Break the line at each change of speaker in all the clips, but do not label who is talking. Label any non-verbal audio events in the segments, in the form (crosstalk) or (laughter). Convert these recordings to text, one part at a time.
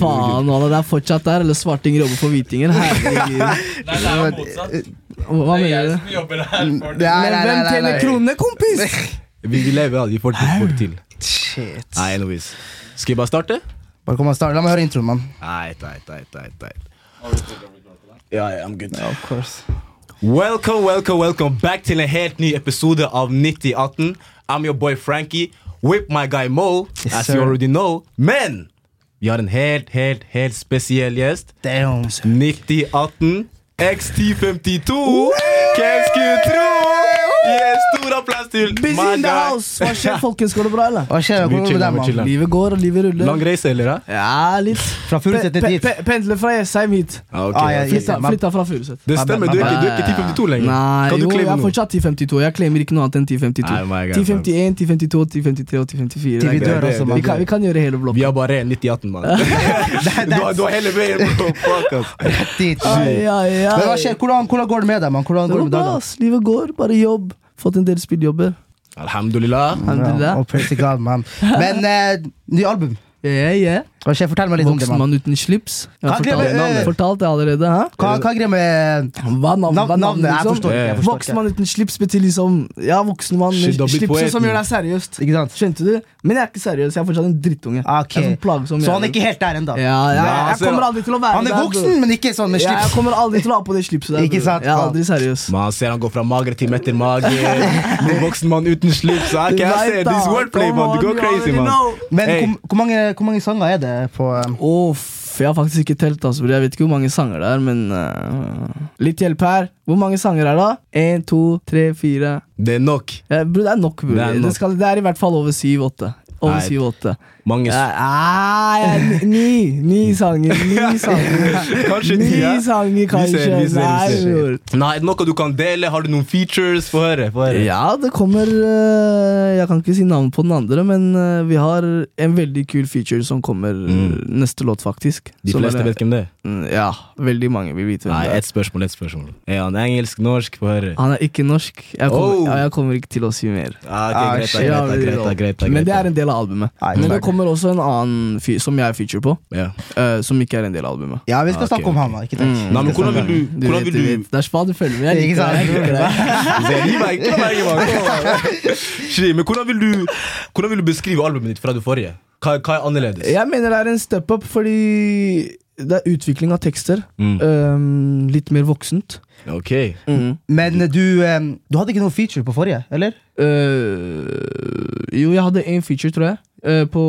faen, Anna, det er fortsatt der. Eller svarting jobber for hvitinger. Herregud.
Nei, det er jo motsatt.
Hva mener
Det er jeg
du?
som jobber her. for det.
Nei, nei, nei,
Hvem
nei,
tjener
nei.
kronene,
(laughs)
kompis?
Vi vil leve av de folk folk til.
Shit.
Nei, Louise. Skal jeg bare starte?
Bare kom og start. La meg høre introen, mann.
Nei, nei, nei, nei, nei.
Har du stilt over til deg?
Ja, ja, I'm good.
Ja, of course.
Welcome, welcome, welcome back til en helt ny episode av 9018. I'm your boy Frankie. Whip my guy Mo,
Yes,
as
sir.
you already know. Men vi har en helt, helt, helt spesiell gjest.
Damn.
9018 X1052. Hvem skulle tro? Yes, stor applaus til
Busy in the house. Hva
(laughs)
skjer, folkens? Går det bra, eller?
Hva skjer? Hvordan går det med deg,
Mye chillere,
mann?
mye
Livet går, og livet ruller.
Lang reise, eller? da?
Ja, litt.
Fra Furuset til
Pe-
dit.
pe- Pendler fra Jessheim hit.
Ah, ok.
Ah, ja, ja.
Flytta, flytta fra Furuset.
Det stemmer, du er ikke, du er ikke 1052 lenger.
Nei,
kan
jo,
du
jeg
claime
er
noe?
fortsatt 1052. Jeg claimer ikke noe annet enn 1052.
Nei, my God,
1051, 1052, 1053 og 1054. Det er
Vi
det-
greit.
dør
det-
også,
Vi kan,
mann.
vi kan gjøre hele
Vi
blokka.
har bare en 9018,
(laughs)
mann. (laughs) Du har- Du har hele veien på fuck, ass.
(laughs)
Dit.
Ai, ai, ai.
Men hva skjer? Hvordan, hvordan går det med deg, mann? Hvordan
Det
går
går
det med
bra,
dagene?
ass. Livet går. Bare jobb. Fått en del spillejobber.
Alhamdulillah.
Alhamdulillah.
oh, praise God, mann.
(laughs)
Men eh, ny album.
Yeah, yeah.
Hva skjer? Fortell meg litt om det,
Voksen
mann.
mann uten slips. Jeg
Hva
har
er det
fortalt,
med- eh,
fortalt det allerede. Hæ?
Hva, hva er greia med
Hva er navn- hva er
navn, navnet? Jeg
liksom?
forstår ikke. Jeg forstår
Voksen
ikke.
mann uten slips betyr liksom Ja, voksen mann med
Shit, da blir
slipset som
poeten.
gjør deg seriøst.
Ikke sant? Ah,
Skjønte du? Men jeg er ikke seriøs. Jeg er fortsatt en drittunge.
Ok.
Jeg er sånn plagsom
Så han er
jævel.
ikke helt der ennå?
ja, ja,
Nei,
Jeg
altså,
kommer aldri til å være
Han er
der,
voksen,
bro.
men ikke sånn med
Ja, jeg
slips.
kommer aldri til å ha på det slipset der.
Ikke
bro.
sant,
Jeg er
faen.
aldri seriøs.
Man ser han går fra mager til metter (laughs) mage. Nå voksen mann uten slips. Ah,
Du
Hva
vet
ser
da.
This wordplay,
Come
mann.
on,
Du går
you
crazy,
already
mann.
know.
Men
Hey.
hvor, hvor, mange, hvor mange sanger er det på um,
Åh, f- jeg har faktisk ikke telt, altså, bror. jeg vet ikke hvor mange sanger det er, men øh, Litt hjelp her. Hvor mange sanger er det? da? Én, to, tre, fire
Det er nok.
ja, Bror, det er nok, bror.
Det er
Det,
nok.
skal, det er i hvert fall over syv-åtte. Over
Nei.
syv-åtte.
Mange s-
Nei, ni, ah, ni, ni sanger. Ni sanger.
Kanskje
Ni
ti, (laughs) ja.
sanger,
Vi ser,
kanskje.
vi ser, vi
Nei, bror.
ser. Nei, noe du kan dele? Har du noen features? Få høre. Få høre.
Ja, det kommer øh, Jeg kan ikke si navnet på den andre, men øh, vi har en veldig kul feature som kommer øh, neste låt, faktisk.
Mm. De
Så
fleste
bare-
vet hvem det er.
Mm, Ja, veldig mange vil vite hvem
Nei,
det er.
ett spørsmål. ett spørsmål Er han engelsk, norsk? Få høre.
Han er ikke norsk. Jeg kommer,
Oh.
ja, jeg kommer ikke til å si mer.
Ah,
Ah,
ok, greit, da,
shit.
greit, da, greit, da, greit, da, greit, da.
Men det er en del av albumet.
Nei,
Men det
klart.
kommer også en annen fyr som jeg er feature på,
ja.
eh, som ikke er en del av albumet. Mm.
Ja, vi skal
Ok,
snakke om
ok.
han, da. Ikke tenk.
Mm. Nei, men hvordan vil du
Du vet,
Hvordan vil
du
du
vet. Det er spa du følger med. Jeg liker
Ikke sant?
deg. Jeg liker deg.
Så gi meg, gi meg, gi meg. (laughs) Shit, Men hvordan vil du Hvordan vil du beskrive albumet ditt fra det forrige? Hva, hva er (laughs) annerledes?
Jeg mener det er en step up fordi det er utvikling av tekster.
Mm.
Øhm, litt mer voksent.
Ok
Men du, um, du hadde ikke noe feature på forrige, eller?
Øh, jo, jeg hadde en feature, tror jeg, øh, på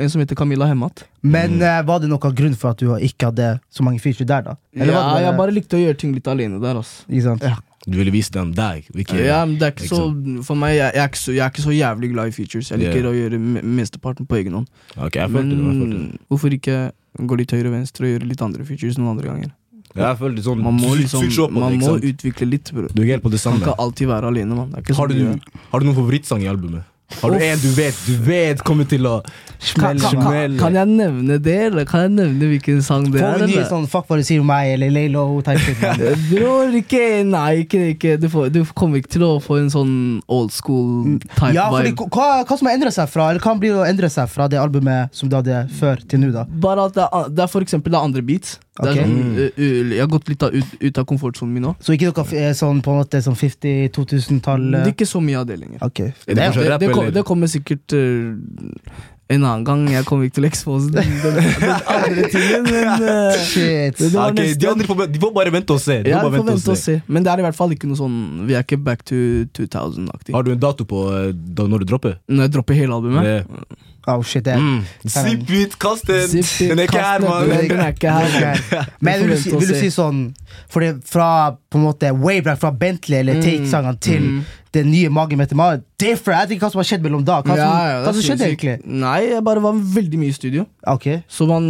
en som heter Camilla Hemmat.
Men
Mm.
eh, var det noen grunn for at du ikke hadde så mange feature der, da? Eller
ja,
var det
jeg bare likte å gjøre ting litt alene der. ass
Ikke sant?
Ja.
Du ville vise dem deg? Ikke,
Ja, men det er ikke
Ikke
så For meg, jeg, jeg, er ikke så, jeg er ikke så jævlig glad i features. Jeg liker
Ja.
å gjøre me- mesteparten på egen hånd.
Ok, jeg følte det. Jeg følte det.
Men hvorfor ikke gå litt høyre og venstre og gjøre litt andre features noen andre ganger?
Jeg følte sånn
Man må,
switch-
liksom,
switch opp på
man
det, ikke
må
sant?
utvikle litt, bro.
Du er ikke helt på det
Man
samme.
kan alltid være alene, mann. Det er ikke sånn
Har du,
det gjør.
har du noen favorittsang i albumet? Har du
Uff.
en du vet du vet kommer til å
Kan, kan, kan,
Smell.
kan jeg nevne det, eller kan jeg nevne hvilken sang det
Får
er?
vi nye
Eller?
sånn 'fuck hva du sier om meg' eller 'lay low' type
(laughs)
shit? man?
Eh, (laughs) Bror, ikke Nei, ikke, ikke. Du, får, du kommer ikke til å få en sånn old school type
Ja, fordi,
vibe.
hva, hva som har endret seg fra Eller hva blir å endre seg fra det albumet som du hadde før, til nå, da?
Bare at det er, an- det er for eksempel det er andre beats. Det
Ok.
er sånn, eh, u- jeg har gått litt av, ut, ut av komfortsonen min nå.
Så ikke noe eh, sånn på en måte sånn 50-, 2000-tall
Det
eh?
er ikke så mye av det lenger.
Ok.
Er det
Det,
fortsatt rap,
det, kom,
eller?
det kommer sikkert eh, en annen gang. Jeg kommer ikke til å expose (laughs) den, den, den andre tingen, men eh,
(laughs) Shit.
det var
Ah, Ok, de
nesten.
andre får, de får bare vente og se. De
Ja,
får
vi
bare
får vente
vente
og se. Men det er i hvert fall ikke noe sånn Vi er ikke back to 2000-aktig.
Har du en dato på eh, da, når du dropper?
Når jeg dropper hele albumet
Det-
Oh, shit, det
Mm. Zipp ut, kast den!
Zipp ut,
Den er ikke
kast
her,
den,
mann.
du Den er ikke her.
Men
Vi får
vil du,
vente
si,
og
vil du
se.
si sånn For det fra på en måte way back fra Bentley
Mm,
eller Take-sangene til den nye Magen med Temar Det er for- Jeg vet ikke hva som har skjedd mellom da. Hva som,
Ja, ja,
hva
det
som
er
skjedde
sinnssykt.
egentlig?
Nei, jeg bare var veldig mye i studio.
Ok,
Så man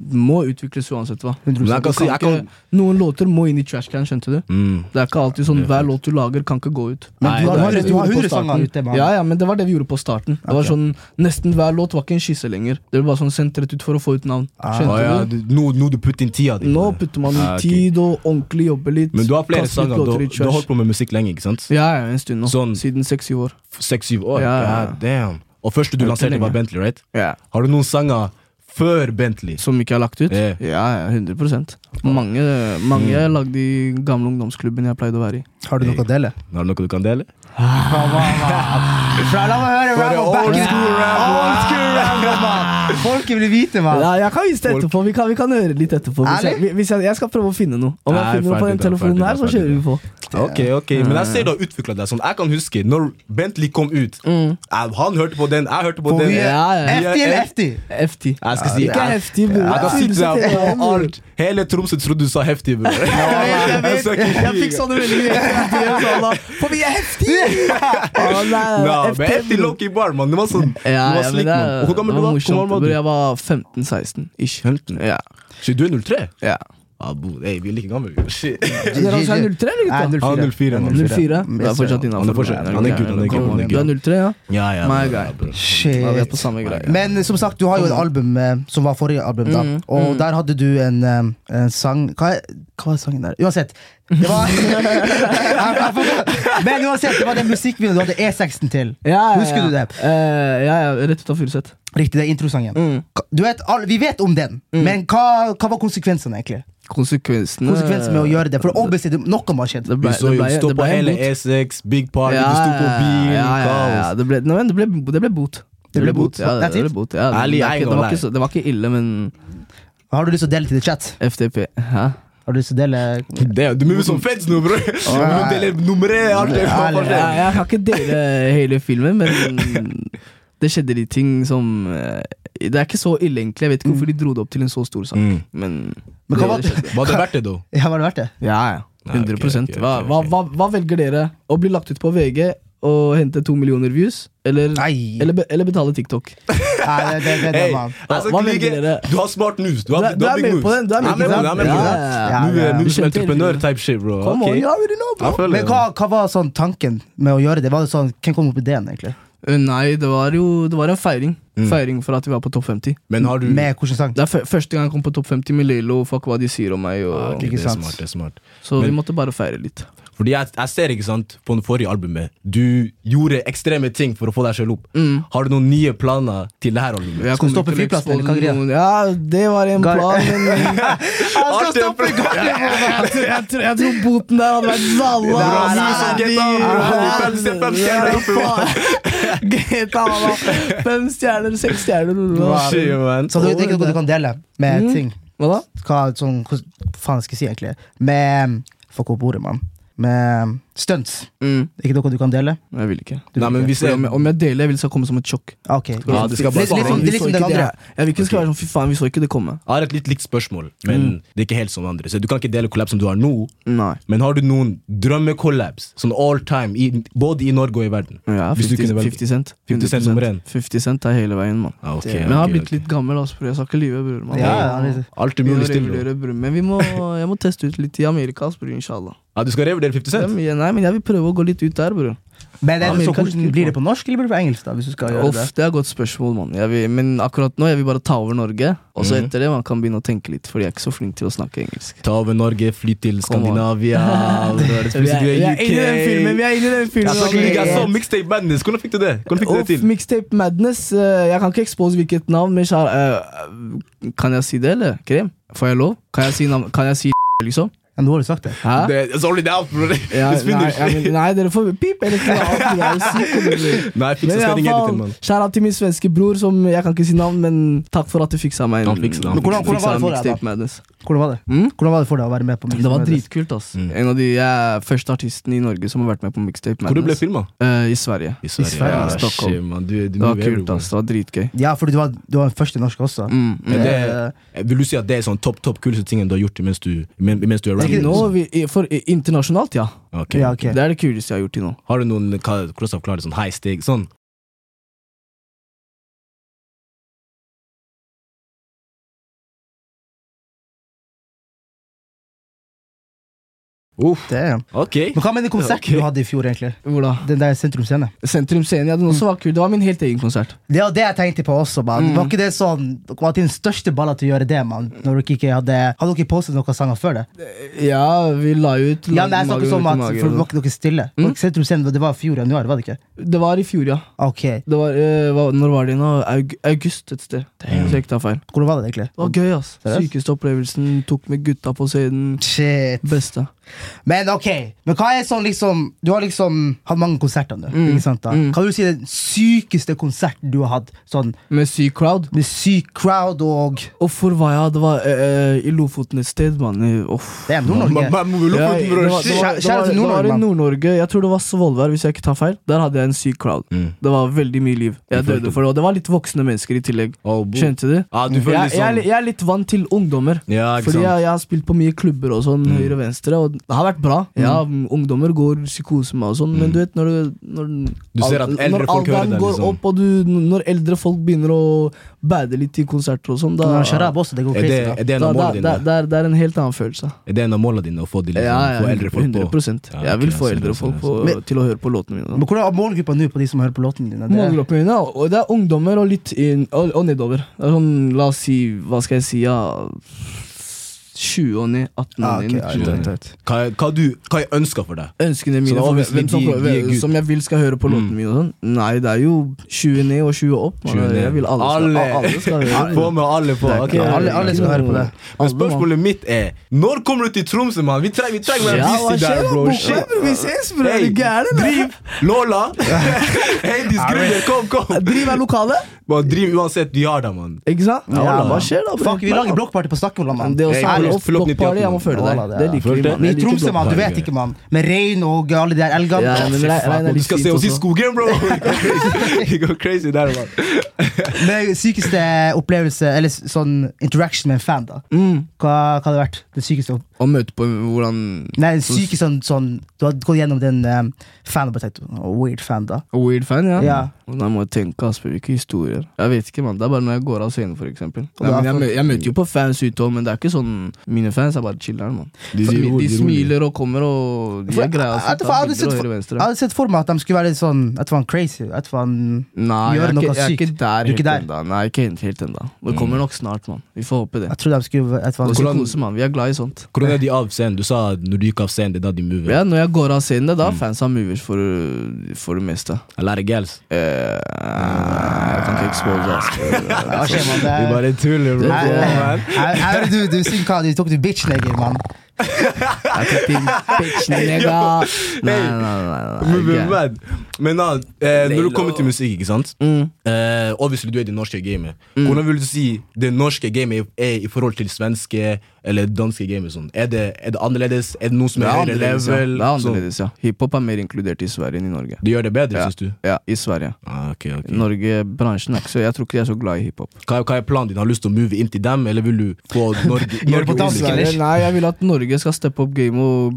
må utvikles uansett, hva.
100
Men jeg kan
Du
si,
kan
jeg kan
ikke, noen låter må inn i trashcan, skjønte du?
mm.
Det er ikke alltid sånn hver låt du lager, kan ikke gå ut.
Men
Nei,
du har,
det er-
hundre- du har 100 sanger ute. Man.
Ja, ja, men det var det vi gjorde på starten. Det var
Ok.
sånn, Nesten hver låt var ikke en skisse lenger. Det ble bare sånn sendt rett ut for å få ut navn.
Å
Skjønte
ja,
du?
du, nå, nå du putter inn tida di. på
Nå
det.
putter man
Ah,
ut
ok.
tid og ordentlig jobber litt.
Men du har flere
kaster litt
sanger. Du,
låter i
du har
trash.
holdt på med musikk lenge, ikke sant?
Ja, ja, en stund nå.
Sånn-
Siden seks-syv år.
Seks-syv år?
Ja, ja, ja.
God damn. Og første du
Ikke
lanserte, var
lenge.
Bentley, right?
Ja.
Har du noen sanger før Bentley.
Som ikke er lagt ut?
Ja. Hmm.
Ja, ja, 100 Mange, mange jeg lagde i gamle ungdomsklubben jeg pleide å være i.
Har du noe å dele?
Har du noe du kan dele?
Fra, la meg høre
For
rap
the
og
old
back
school rap,
Old school rap, mann! Folket vil vite, mann.
Ja, jeg kan vise det etterpå. Vi kan, vi kan høre litt etterpå. Hvis
Ærlig?
jeg, hvis jeg, jeg skal prøve å finne noe. Om
Nei,
jeg finner noe på
ferdig
den
da, ferdig
telefonen
da,
her, så
ferdig
kjører vi på.
Ok, ok, Men jeg ser du har utvikla deg sånn. Jeg kan huske når Bentley kom ut.
Mm.
Jeg, han hørte på den, jeg hørte på
For
den.
vi er
Ja, ja.
heftig eller heftig?
F10.
Jeg skal si
Ikke
jeg-
heftig, bror.
Jeg kan
Fyre
sitte
seg til
der
øynene.
på alt. Hele Tromsø trodde du sa heftig,
(laughs)
bror.
jeg
(laughs)
vet.
skal ikke
Jeg fikk sånn- sånne
lyve.
meldinger etter FT, sånn da, For vi er heftige! Å, nei,
Ja, men
FT,
heftig
bror.
Loki Bar, mann. Det var sånn
Ja,
Du var
ja, men
slik,
det,
mann. Hvor gammel
det
du
var
var
morsomt,
Hvor gammel var
bror.
du?
Jeg var 15-16. Ish.
15.
Ja.
Shit, du er 03?
ja.
Ah, bro, hey, vi er like gamle. vi. Shit.
Dere også er 03, eller gutta?
Nei,
Han er 04, mann.
04? Du er fortsatt
Han er
innafor.
fortsatt- han er gutt, han er gutt, han er
Du er 03, ja?
Ja, ja,
My
bror,
guy.
ja, bror.
Shit.
Ja, vi er på samme greie.
Men eh, som sagt, du har jo
Mm.
et album eh, som var forrige album, da. Og der hadde du en, eh, en sang hva, er- hva var sangen der? Uansett.
(laughs)
Det var (laughs) Men uansett, det var den musikkvideoen du hadde E6-en til.
Ja, ja, ja.
Husker du det?
Eh, ja, ja, rett ut av Furuset.
Riktig, det er introsangen.
Mm.
Ka- Du vet, all- vi vet om den, men hva, hva var konsekvensene, egentlig?
Konsekvensene
Konsekvensen
Mm.
med å gjøre det? For obviously, det- noe må ha skjedd.
Det
Vi
ble,
så
det
jo
ble,
stå
det
på
ble en
hele
bot.
E6, Big Party,
Ja,
du sto på bil,
ja, ja, ja,
kaos.
Det ble, nei, men det ble, det ble bot.
Det ble bot.
Ja, det,
That's it.
ble bot. Ja, det,
Ærlig,
det,
jeg
er
er
ikke, det, var
lei.
ikke, så- det var ikke ille, men
Har du lyst til å dele til the chat?
FTP Hæ?
Har du lyst til å dele
Det, du må jo som feds nå, bror! Du (laughs) må dele nummeret, alt det.
Ja,
Jeg, jeg kan ikke dele hele filmen, men det skjedde de ting som eh, Det er ikke så ille, egentlig. Jeg vet ikke hvorfor de dro det opp til en så stor sak.
Mm.
Men,
Men hva var
det skjedde.
Var det verdt det, da?
Ja, var det verdt det?
(laughs) Ja, ja.
Nei,
100
ok, ok,
Hva,
ok.
hva, hva, hva velger dere? Å bli lagt ut på VG og hente to millioner views? Eller,
Nei.
eller, be- eller betale TikTok?
Nei, det, det, det, det,
Hey,
man.
jeg skal
Hva
ikke
velger
ligge.
dere?
Du har smart moves. Du har,
Du er-
du har
du er
big
med
moves.
på den, du er med
Jeg
på den.
jeg er med på
Ja,
den.
ja,
ja.
Nå er-
Du
Nå er som
skjønte
entreprenør
det.
type shit, bro.
Come
Ok.
on, you already know, bro.
Jeg føler
Men
det.
hva, hva var sånn tanken med å gjøre det? Var det sånn, Hvem kom opp med ideen, egentlig?
Eh, Nei, det var jo det var en feiring.
Mm.
Feiring for at vi var på topp 50.
Men har du
Med hvilken sang?
Mm. Det er fø- første gang jeg kom på topp 50 med Lilo. Fuck hva de sier om meg. Og,
Ah, ok,
Ikke
Det er
sant.
smart. det er smart
Så vi
Men-
måtte bare feire litt.
Fordi jeg, jeg ser ikke sant på det forrige albumet Du gjorde ekstreme ting for å få deg selv opp.
Mm.
Har du noen nye planer til det her
Jeg
albumet?
Skal du
kommer til
stoppe
å
flyplassen, eller hva er greia?
expose noen- Ja, det var en
Gar-
plan,
(laughs)
men
Han skal stoppe
jeg, tror- jeg, tror- jeg tror boten der hadde vært zalla.
Bra, Susan, get down, bro.
Ja,
Fem- se fem stjerner,
faen. Get down, da. Fem stjerner, seks stjerner. bro.
Wow.
Shit, man.
Så det, det er ikke noe du kan dele med
Mm.
ting?
Hva da?
Hva sånn, hvordan faen skal jeg si, egentlig? Med Fuck opp ordet, mann. Med stunts. Det er ikke noe du kan dele?
Jeg vil ikke.
Mm. Nei, men vi ser
Om jeg, om jeg deler, jeg vil det skal komme som et sjokk.
Ah, Ok.
Ja, det skal
litt, litt, sånn-
bare være-
litt,
Vi så
som
ikke
den andre.
det. Jeg vil ikke det skal være sånn, fy faen, vi så ikke det komme.
Jeg har et litt likt spørsmål, men
Mm.
det er ikke helt som andre. Så Du kan ikke dele kollaps som du har nå,
Nei.
men har du noen drømmekollaps? Sånn all time, i, både i Norge og i verden?
Ja,
Hvis du
50,
kunne velge.
50 cent.
50 cent nummer én.
50 cent er hele veien, mann.
Ah, ok,
Men jeg har
ok,
blitt
ok.
litt gammel, altså, bror. Jeg skal ikke lyve, bror. mann.
Ja, ja,
Jeg-
litt-
Alt er
Vi må
mulig stille.
revurdere, bror. Men vi må, jeg må teste ut litt i Amerika, altså, bror.
(laughs)
Inshallah.
Ja, du skal revurdere 50
Det er
Cent?
mye- Nei, men jeg vil prøve å gå litt ut der, bror.
Men er
Amerika er
det, så,
litt
hvordan
kult,
blir det på norsk eller blir det på engelsk? da, hvis du skal gjøre det?
Uff, det er et godt spørsmål, mann. Jeg vil- Men akkurat nå jeg vil bare ta over Norge. Og
Mhm.
så etter det man kan begynne å tenke litt, Fordi jeg er ikke så flink til å snakke engelsk.
Ta over Norge, fly til
Come on. (laughs)
Skandinavia bror. Det
Vi
spiller
er,
du
vi
i
er
UK.
inne i den filmen! Vi er inne i den filmen
Jeg så ikke
mann.
ligge, jeg sånn så Mixtape Madness. Hvordan fikk du det? Hvordan fikk du det
Uff,
til?
Mixtape Madness. eh, jeg kan ikke expose hvilket navn, men kjære, eh, Kan jeg si det, eller? Krem? Får jeg lov? Kan jeg si, navn, kan jeg si (laughs) liksom?
Ja, nå har du sagt det.
Hæ?
Det, it's already out, bro.
Ja,
It's
nei,
finished.
ja, men, nei, dere får pip eller ikke. da. (laughs) Alt det der, sykt, bror.
(laughs) Nei,
Men
fiksa
i alle
skanning
fall,
editen, mann.
Kjære til min svenske bror, som jeg kan ikke si navn, men takk for at du fiksa meg. en-
Han fikser det, han
Men hvordan-
fikser
hvordan
det.
var det for
Fiksa
deg,
Mixtape
da? Madness.
Hvordan var det?
Mm?
Hvordan var det for deg å være med på Mix
Det var
Madness?
dritkult. ass
Mm.
En av de eh, første artistene i Norge som har vært med på Mixtape
Hvor du ble
Madness.
filma?
Eh, I Sverige.
I
Sverige,
ja.
ja. Stockholm.
Shit, man. Du, du,
Det var
knew
kult.
everyone.
ass Det var dritgøy.
Ja, for du var, du var den første norske også.
Mm, mm.
Men
Eh,
det, vil du si at det er sånn topp topp kuleste tingen du har gjort mens du, men- mens du er
Til
rapper?
nå, vi, i- for i- internasjonalt, ja.
Ok.
Ja, ok.
Det er det kuleste jeg har gjort til nå.
Har du noen hva, Hvordan skal jeg forklare det? Sånn high steg? Sånn. Uff,
Damn.
(laughs) ok.
Men hva med den konserten
Ok.
du hadde i fjor, egentlig?
Hvor da?
Den der Sentrum Scene.
Sentrum Scene, ja, den også var kul. Det var min helt egen konsert.
Det var det jeg tenkte på også. Man. Var ikke det sånn Var det din største balla til å gjøre det? Man, når dere ikke hadde Hadde dere postet noen sanger før det?
Ja, vi la ut
Ja, men jeg
Mage
snakker sånn
over
at
mage,
for
og-
Var ikke dere stille? Var ikke Sentrum Scene, det var i fjor januar, var det ikke?
Det var i fjor, ja.
Ok,
Det var, eh, hva, når var det nå? Aug august et sted. Så jeg ikke tar feil.
Hvordan var det egentlig?
Det var gøy, ass.
Seriøst?
Sykeste opplevelsen. Tok med gutta på scenen.
Shit.
Beste.
Men ok, men hva er sånn liksom Du har liksom hatt mange konserter nå. Ikke sant da? Hva vil du si er den sykeste konserten du har hatt? Sånn
Med syk crowd.
med syk crowd og
Og for hva ja, det var eh, eh, i Lofoten et sted, mann. I- Uff.
Det er Nord-Norge.
Man- man må jo lukke
Ja,
ut,
det
bro.
var- det var-
Shit.
Kjære-
det
kjære
var-
til
det var i
nordmann.
Nordnorge. Jeg tror det var Svolvær, hvis jeg ikke tar feil. Der hadde jeg en syk crowd.
Mm.
Det var veldig mye liv. Jeg
følte
døde for det, og det var litt voksne mennesker i tillegg.
Oh, bo.
Skjønte du?
Ja, du
jeg,
føler litt
jeg,
sånn-
er- jeg er litt vant til ungdommer.
Ja, ikke
Fordi
sant. Mm.
jeg, jeg har spilt på mye klubber og sånn, høyre og venstre, og det har vært bra. Ja, mm, Ungdommer går psykose med og sånn, men du vet når du når,
Mm. Du ser at
al-
eldre
når
folk hører
alderen
deg,
går
liksom.
opp, og du, når eldre folk begynner å bade litt i konserter og sånn, da
Ja, Sharab også, det går
Er det,
crazy.
er
da.
det en
da,
av
da,
målene
da,
dine?
det, er, det er en helt annen følelse.
Er det en av målene dine å få, de, liksom,
Ja, ja,
få eldre folk på?
100
Ja,
Jeg vil
ok,
få
jeg ser
eldre
det,
folk
jeg ser
på,
det. Men-
til å høre på låtene mine.
Men hvordan er målgruppa nå på de som hører på låtene dine? Det er,
Målgruppa mine, og det er ungdommer og litt inn, og, og nedover. Det er sånn, la oss si, hva skal jeg si, ja 20 og ned, 18
ah,
og
ok,
ned.
ja,
19.
ja,
skjønner.
ja, ja.
Hva, hva, du, hva jeg ønsker for deg?
Ønskene mine,
Så
for
obviously
hvem som,
de- de er good.
som jeg vil skal høre på låtene mine. og Sånn. Nei, det er jo 20 ned og 20 opp. Man,
20 ned.
jeg vil alle skal,
Alle.
alle skal høre
(laughs) Få med alle på.
Det er
ok.
ikke-
alle- alle skal høre på det.
Men
Alle, mann.
spørsmålet mitt er Når kommer du til Tromsø, mann? Vi trenger vi trenger en
Ja,
artist
hva
til der,
skjer,
bro.
bro?
Shit.
Bro, vi ses, bro. Er
Hey,
du gæren, eller?
Driv! Lola! (laughs) Heidis Gründer, kom, kom!
Driv er lokale,
Man, driv uansett, vi har deg, mann.
ikke sant?
Ja,
Ja,
da.
hva skjer da? bro?
Fuck, vi lager blokkparty på Snakkevollan, mann.
Det å
Hey,
samle
forlåt,
opp
forlåt,
blokkparty, jeg må føle deg.
Voilà, det
Det
er-
liker
Følte
vi,
det.
mann.
Men
Jeg
i
liker
Tromsø, mann, du
blokkparty.
vet ikke, mann. Med rein og alle de der elgene.
Ja,
(laughs)
men
Fy
rein-
faen.
rein er
Du
litt
skal
fint
se oss i
også.
skogen,
(laughs)
bro! (laughs) Vi går crazy der, mann.
Men sykeste opplevelse, eller sånn interaction med en fan, da.
Mm.
Hva, hva hadde vært det sykeste? opp-
Og møte på hvordan
Nei, det syke sånn, sånn Du har gått gjennom den um, fan og bare tenkt oh, Weird fan, da.
A Weird fan, ja?
Ja.
Nei, må jeg tenke, Asper, hvilke historier? Jeg vet ikke, mann. Det er bare når jeg går av scenen, for eksempel.
Og
Nei,
da
men jeg,
får-
mø- jeg møter jo på fans ute òg, men det er ikke sånn Mine fans er bare chiller'n, mann.
De-
De,
de- de- de-
smiler og kommer og De
For-
er altså. greia. og
jeg- jeg- for jeg
tar bilder
hadde
og
sett-
høyre og
Jeg
venstre.
hadde sett for meg at de skulle være litt sånn At det var han crazy. At det var han
Nei,
gjør
jeg er
noe
ikke, jeg er
sykt.
ikke der
Du er ikke
helt
der?
ennå. Nei, ikke helt, helt ennå. Det kommer nok snart, mann. Vi får håpe det.
Jeg trodde de skulle at det var
Og
han,
Hvordan-
psykose, mann. Vi er glad i sånt.
Hvordan er de av scenen? Du sa når du gikk av scenen, det er da de mover.
Ja, når jeg går av scenen, det er da fansa mover for, for det meste.
A lot of girls.
Eh, jeg kan ikke altså. expose Asper.
Hva skjer, mann? Det
Vi
er-
bare tuller, bro.
Jeg-
Come on, man.
jeg- Jeg hører du, du synger hva du tok til bitch lenger, mann.
Jeg tok din bitch, nigga. Nei, nei, nei. nei,
Men, men,
nei.
men, men da, eh, når du kommer til musikk, ikke sant
Mm.
eh, Obviously, du er i det norske gamet. Hvordan vil du si det norske gamet er i forhold til svenske eller danske gamet? Sånn? Er, det, er det annerledes? Er det noe som
Det
er
er
høyere
annerledes, ja.
level?
Det er
Sånn.
annerledes, ja. Hiphop er mer inkludert i Sverige enn i Norge.
Det gjør det bedre,
Ja.
synes syns du?
Ja, i Sverige.
Ah, ok, ok.
Norge-bransjen er ikke så Jeg tror ikke de er så glad i hiphop.
Hva, hva er planen din? Har du lyst til å move inn til dem, eller vil du
(laughs)
få Norge,
Gjør det på
Norge
dansk,
inn i-
eller?
Sverige, nei, jeg vil at Norge skal steppe opp game og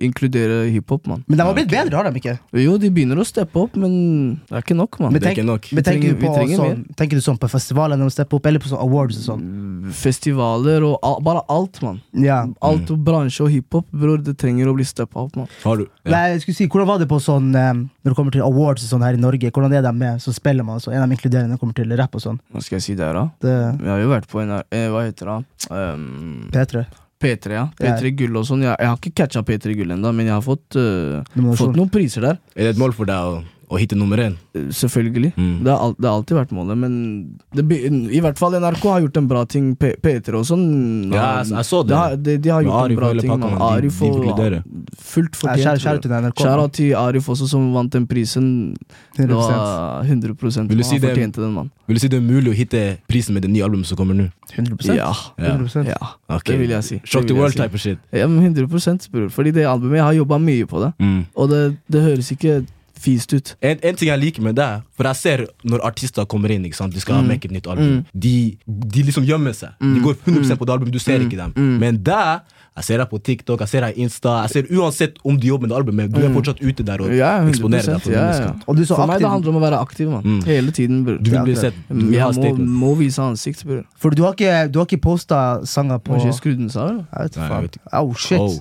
inkludere hiphop, mann.
Men de har blitt bedre, har de ikke?
Jo, de begynner å steppe opp, men det er ikke nok, mann.
Men
Det er ikke nok.
Men
Vi
tenker,
trenger-
du på
vi trenger Mm.
sånn, tenker du sånn på festivaler når de stepper opp, eller på sånn awards og sånn?
Festivaler og al bare alt, mann.
Ja.
Alt og bransje og hiphop, bror, det trenger å bli steppa opp, mann.
Har du? Ja.
Nei, jeg skulle si, Hvordan var det på sånn um, når det kommer til awards og sånn her i Norge? Hvordan er de med som spiller man? Altså? Er de inkluderende når det kommer til rapp og sånn?
Hva skal jeg si der, da?
Det
Jeg har jo vært på en eh, Hva heter det? da? Um,
P3.
P3, ja.
Ja.
P3 Gull og sånn. Jeg, jeg har ikke catcha P3 Gull ennå, men jeg har fått, øh,
Nominasjon.
fått noen priser der.
Er det et mål for deg å, å hitte nummer én?
Øh, Selvfølgelig.
Mm.
Det, har al det har alltid vært målet, men det, be- i hvert fall NRK har gjort en bra ting. P P3 og sånn.
Ja, jeg- jeg så det.
har, de, de har
Med
gjort
Arif
en bra
og hele
ting.
pakka,
man.
men de-
Arif
de
og
inkluderer.
Fullt
Ja, Kjære kjære
fortjent.
til NRK.
Kjære til Arif også, som vant den prisen. Det
100%.
var 100
Vil du si
Han
det-
fortjente den, mann.
Vil du si det er mulig å hitte prisen med det nye albumet som kommer nå?
100%.
Ja.
100%.
ja.
Ok.
Det vil jeg si.
Shock
Det vil
the
jeg
world
si.
type of shit.
Ja, men 100 bror. Fordi det albumet, jeg har jobba mye på det.
Mm.
Og det, det høres ikke fist ut.
En, en ting jeg liker med deg, for jeg ser når artister kommer inn ikke sant? De
Mm.
skal make et nytt album. De, de liksom gjemmer seg. De går
Mm.
100 på det albumet, du ser ikke dem. Men deg, jeg ser deg på TikTok, jeg ser deg i Insta. Jeg ser Uansett om du jobber med det albumet, du er fortsatt ute der og
Mm. Ja, 100
eksponerer deg. For,
ja, ja.
mennesker. Mm.
Og du er så
For meg
aktiv.
det handler om å være aktiv, mann. Hele tiden, bror.
Du vil
Ja,
bli
akkurat.
sett. Du vil
jeg
ha
må,
statement.
må vise ansikt, bror.
For du har ikke, du har ikke posta sanger på
Må ikke
Jeg
skru den seg av, eller?
vet
Nei, jeg
faen.
vet
Au, shit.
Oh.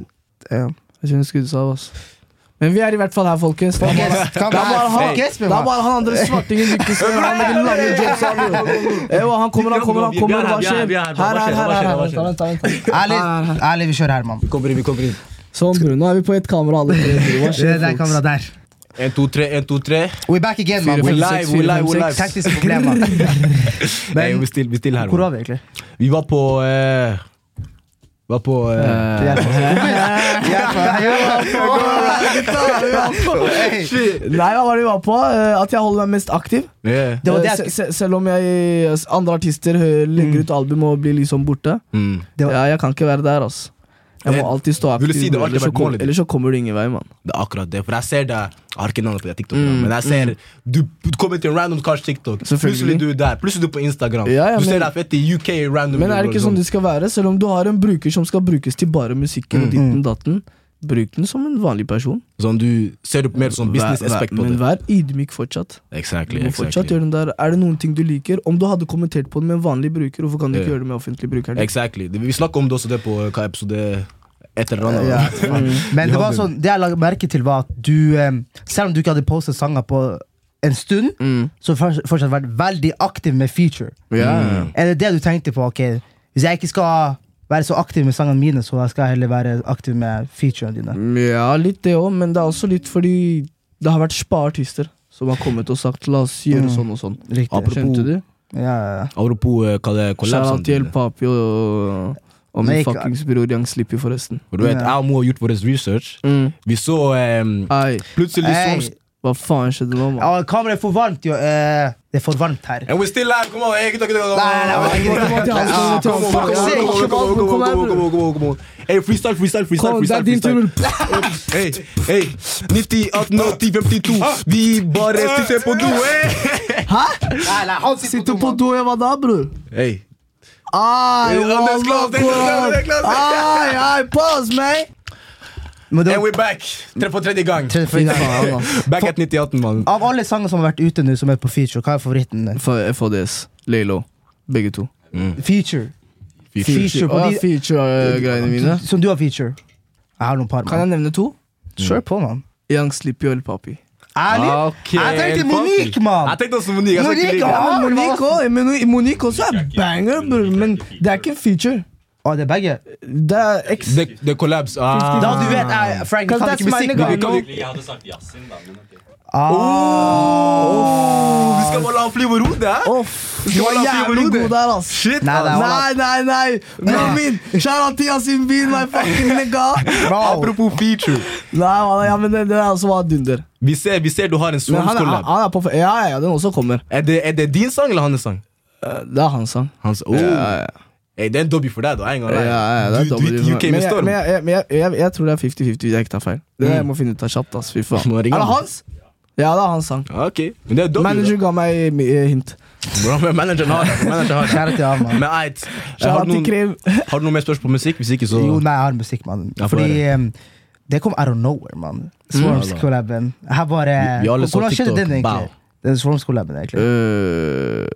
Damn.
Jeg kjenner skuddet av, ass. Men vi er i hvert fall her, folkens. Da må
Folkens, kan
da må
være
han-
folkens,
da
men
må han andre svartingen lykkes med han med den lange jobsen, bro. Eh, og Han kommer, han kommer, han kommer. Hva
Vi er her,
skjer?
vi er her, bro. Hva
Her, her,
skjer,
her,
hva skjer,
her,
hva
her.
skjer?
Vent, vent, vent.
Ærlig,
Her, her.
ærlig, vi kjører her, mann.
Vi kommer inn, vi kommer inn.
Sånn, bro. Nå er vi på ett kamera, alle tre. Hva
Det
skjer,
der
folks?
kameraet der.
En, to, tre, en, to, tre.
We back again,
Fire,
mann.
We
fem,
live,
seks,
we
fire,
live,
fem,
we
seks.
live.
Tekniske problemer.
Nei, vi stiller, vi stiller her.
Hvor
mann.
var vi egentlig?
Vi var på eh, Var på eh,
Vi er på-
(laughs)
Vi er på- vi er på-
Eh.
Hey.
Nei, hva var det vi var på? Eh, At jeg holder meg mest aktiv.
yeah.
Det var det jeg
Eh, se- se- Selv om jeg andre artister hø- legger ut album og blir liksom borte.
mm.
Det var-
Ja, jeg kan ikke være der, ass. Jeg
Eh,
må alltid stå
vil
aktiv,
du si det har alltid
ellers, så
vært
kom,
målet ditt?
ellers så kommer du ingen vei, mann.
Det er akkurat det. For jeg ser deg Jeg har ikke navnet på det TikTok,
Mm,
men jeg ser du, du kommer til en random kars TikTok.
Selvfølgelig.
Plutselig du er der. Plutselig du er på Instagram.
Ja, ja,
du ser
men-
deg fett i UK random.
Men er det ikke sånn det skal være? Selv om du har en bruker som skal brukes til bare
Mm,
musikken og ditten datten, bruk den som en vanlig person.
Sånn du ser du mer sånn business
Vær- vær-
aspect på
Men
det.
vær ydmyk fortsatt. Du
Exactly,
må fortsatt
exactly.
gjøre den der. Er det noen ting du liker? Om du hadde kommentert på den med en vanlig bruker, hvorfor kan du ikke
Ja.
gjøre det med offentlig bruker?
exactly. Det- Vi snakka om det også det på eh, hva episode et eller annet.
Ja. Men det var sånn, det jeg la merke til, var at du eh, Selv om du ikke hadde postet sanger på en stund,
Mm.
så har du fortsatt vært veldig aktiv med feature.
Ja.
Er det det du tenkte på? ok, Hvis jeg ikke skal være så aktiv med sangene mine, så skal jeg heller være aktiv med featurene dine.
ja, litt det òg, men det er også litt fordi det har vært spa-artister som har kommet og sagt 'la oss gjøre
Mm.
sånn og sånn'.
Riktig.
Apropos-
Skjønte du?
Ja, ja, ja.
Apropos eh, hva det er, collabs
Shout
og
out til
sånn.
El Papi og, og min
Nei, ikke-
fuckings bror Young Slippy, forresten.
For du vet,
Ja.
jeg og Mo har gjort vår research.
Mm.
Vi så eh,
Ei,
plutselig
Hey.
så
hva faen skjedde nå, mann?
Ja, Kameraet er for varmt, jo. Eh, det er for varmt her.
And we're still live, come on! Hey, gutta, gutta, gutta.
Nei, nei, nei,
Kom igjen, kom igjen,
Ah,
kom igjen,
for
kom igjen,
fuck's sake.
kom igjen, kom igjen, kom igjen, kom igjen.
Hey, freestyle, freestyle, freestyle,
Kom, det er
freestyle,
din tur.
freestyle. (laughs) Hey, hey, Nifty 18 og 10 52 Vi bare sitter på do hey.
Nei, nei, han
Sitter på do, jeg var da, bror.
Hey,
Ai,
Ja, det er klart, det er klart, det er klart.
Ai, ai, pause, man!
Men det
and
var,
we're back Tre på tredje gang
Tre-
Fy
fordi-
faen, ass.
Back at 9018, mann
av alle sanger som har vært ute nå, som er på feature, hva er favoritten? din?
F- FHDS, Laylo, begge to.
Mm.
Feature. Feature på
Å,
de-
ja, Feature-greiene mine.
Som du har feature. Jeg har noen par.
Kan
Man.
jeg nevne to?
Kjør på, mann.
Young Slippy og El Papi.
Ærlig?
Ok,
Jeg tenkte
fuck.
Monique,
Jeg
mann!
tenkte også Monique jeg skal ikke
Monique,
ligge.
ja.
Ja,
men
Monique også, men Monique også er banger, bror, men det er ikke en feature.
Å, det er begge.
Det er eks...
Det- Det kollaps ah.
Da du vet, jeg, Frank,
Cause
kan
that's my
ikke musikk.
nigga.
men-
kan-
Jeg hadde sagt Yasin, da. Men ok.
Ah,
Oh, Vi skal bare la han fly over hodet, hæ?
Off.
Skal
Du
man
var
la Fiorino
jævlig
det?
god der, ass.
Oh, Shit,
Nei, nei,
ass.
hold
Nei, nei, nei! Broren min! Kjære til Yasin Bin, my fucking nigga!
Bro.
Apropos feature
Nei, man, ja, men det, det der også var dunder.
Vi ser, vi ser du har en
Men
svensk
han, er-
collab
han er på f- Ja, ja, ja, den også kommer.
er det, er det din sang eller hans sang?
Eh, Det er hans sang.
Hans, oh.
Ja, ja.
Hey, det er en dobby for deg, da. Jeg er en gang
Ja,
rei.
ja, det er
du,
dobbelt-
du gikk UK
men
med
jeg,
storm. Mm.
men jeg, jeg, men jeg, jeg, jeg tror det er 50-50, hvis jeg ikke tar feil. Det der jeg må finne ut av kjapt. ass, fy faen
Må
Er
jeg ringe
det
han?
hans? Ja, det er hans sang.
Ja, ok. Men det er dobby.
Manager ga meg eh, hint.
Bro, men manageren har det. Manageren har det.
Kjære til
(laughs)
han, mann.
Men eit,
Kjære
har, du
til
noen-
Krim.
har du noe mer spørsmål på musikk? Hvis ikke, så
Jo, nei, jeg har musikk, mann.
Ja, få
Fordi
høre. Mm.
em, det kom out of nowhere, mann. Swarms-collaben. Jeg har bare
Vi- vi alle så
Hvordan skjedde
TikTok,
den,
bow.
egentlig? Den Swarms-collaben, egentlig.
Øh,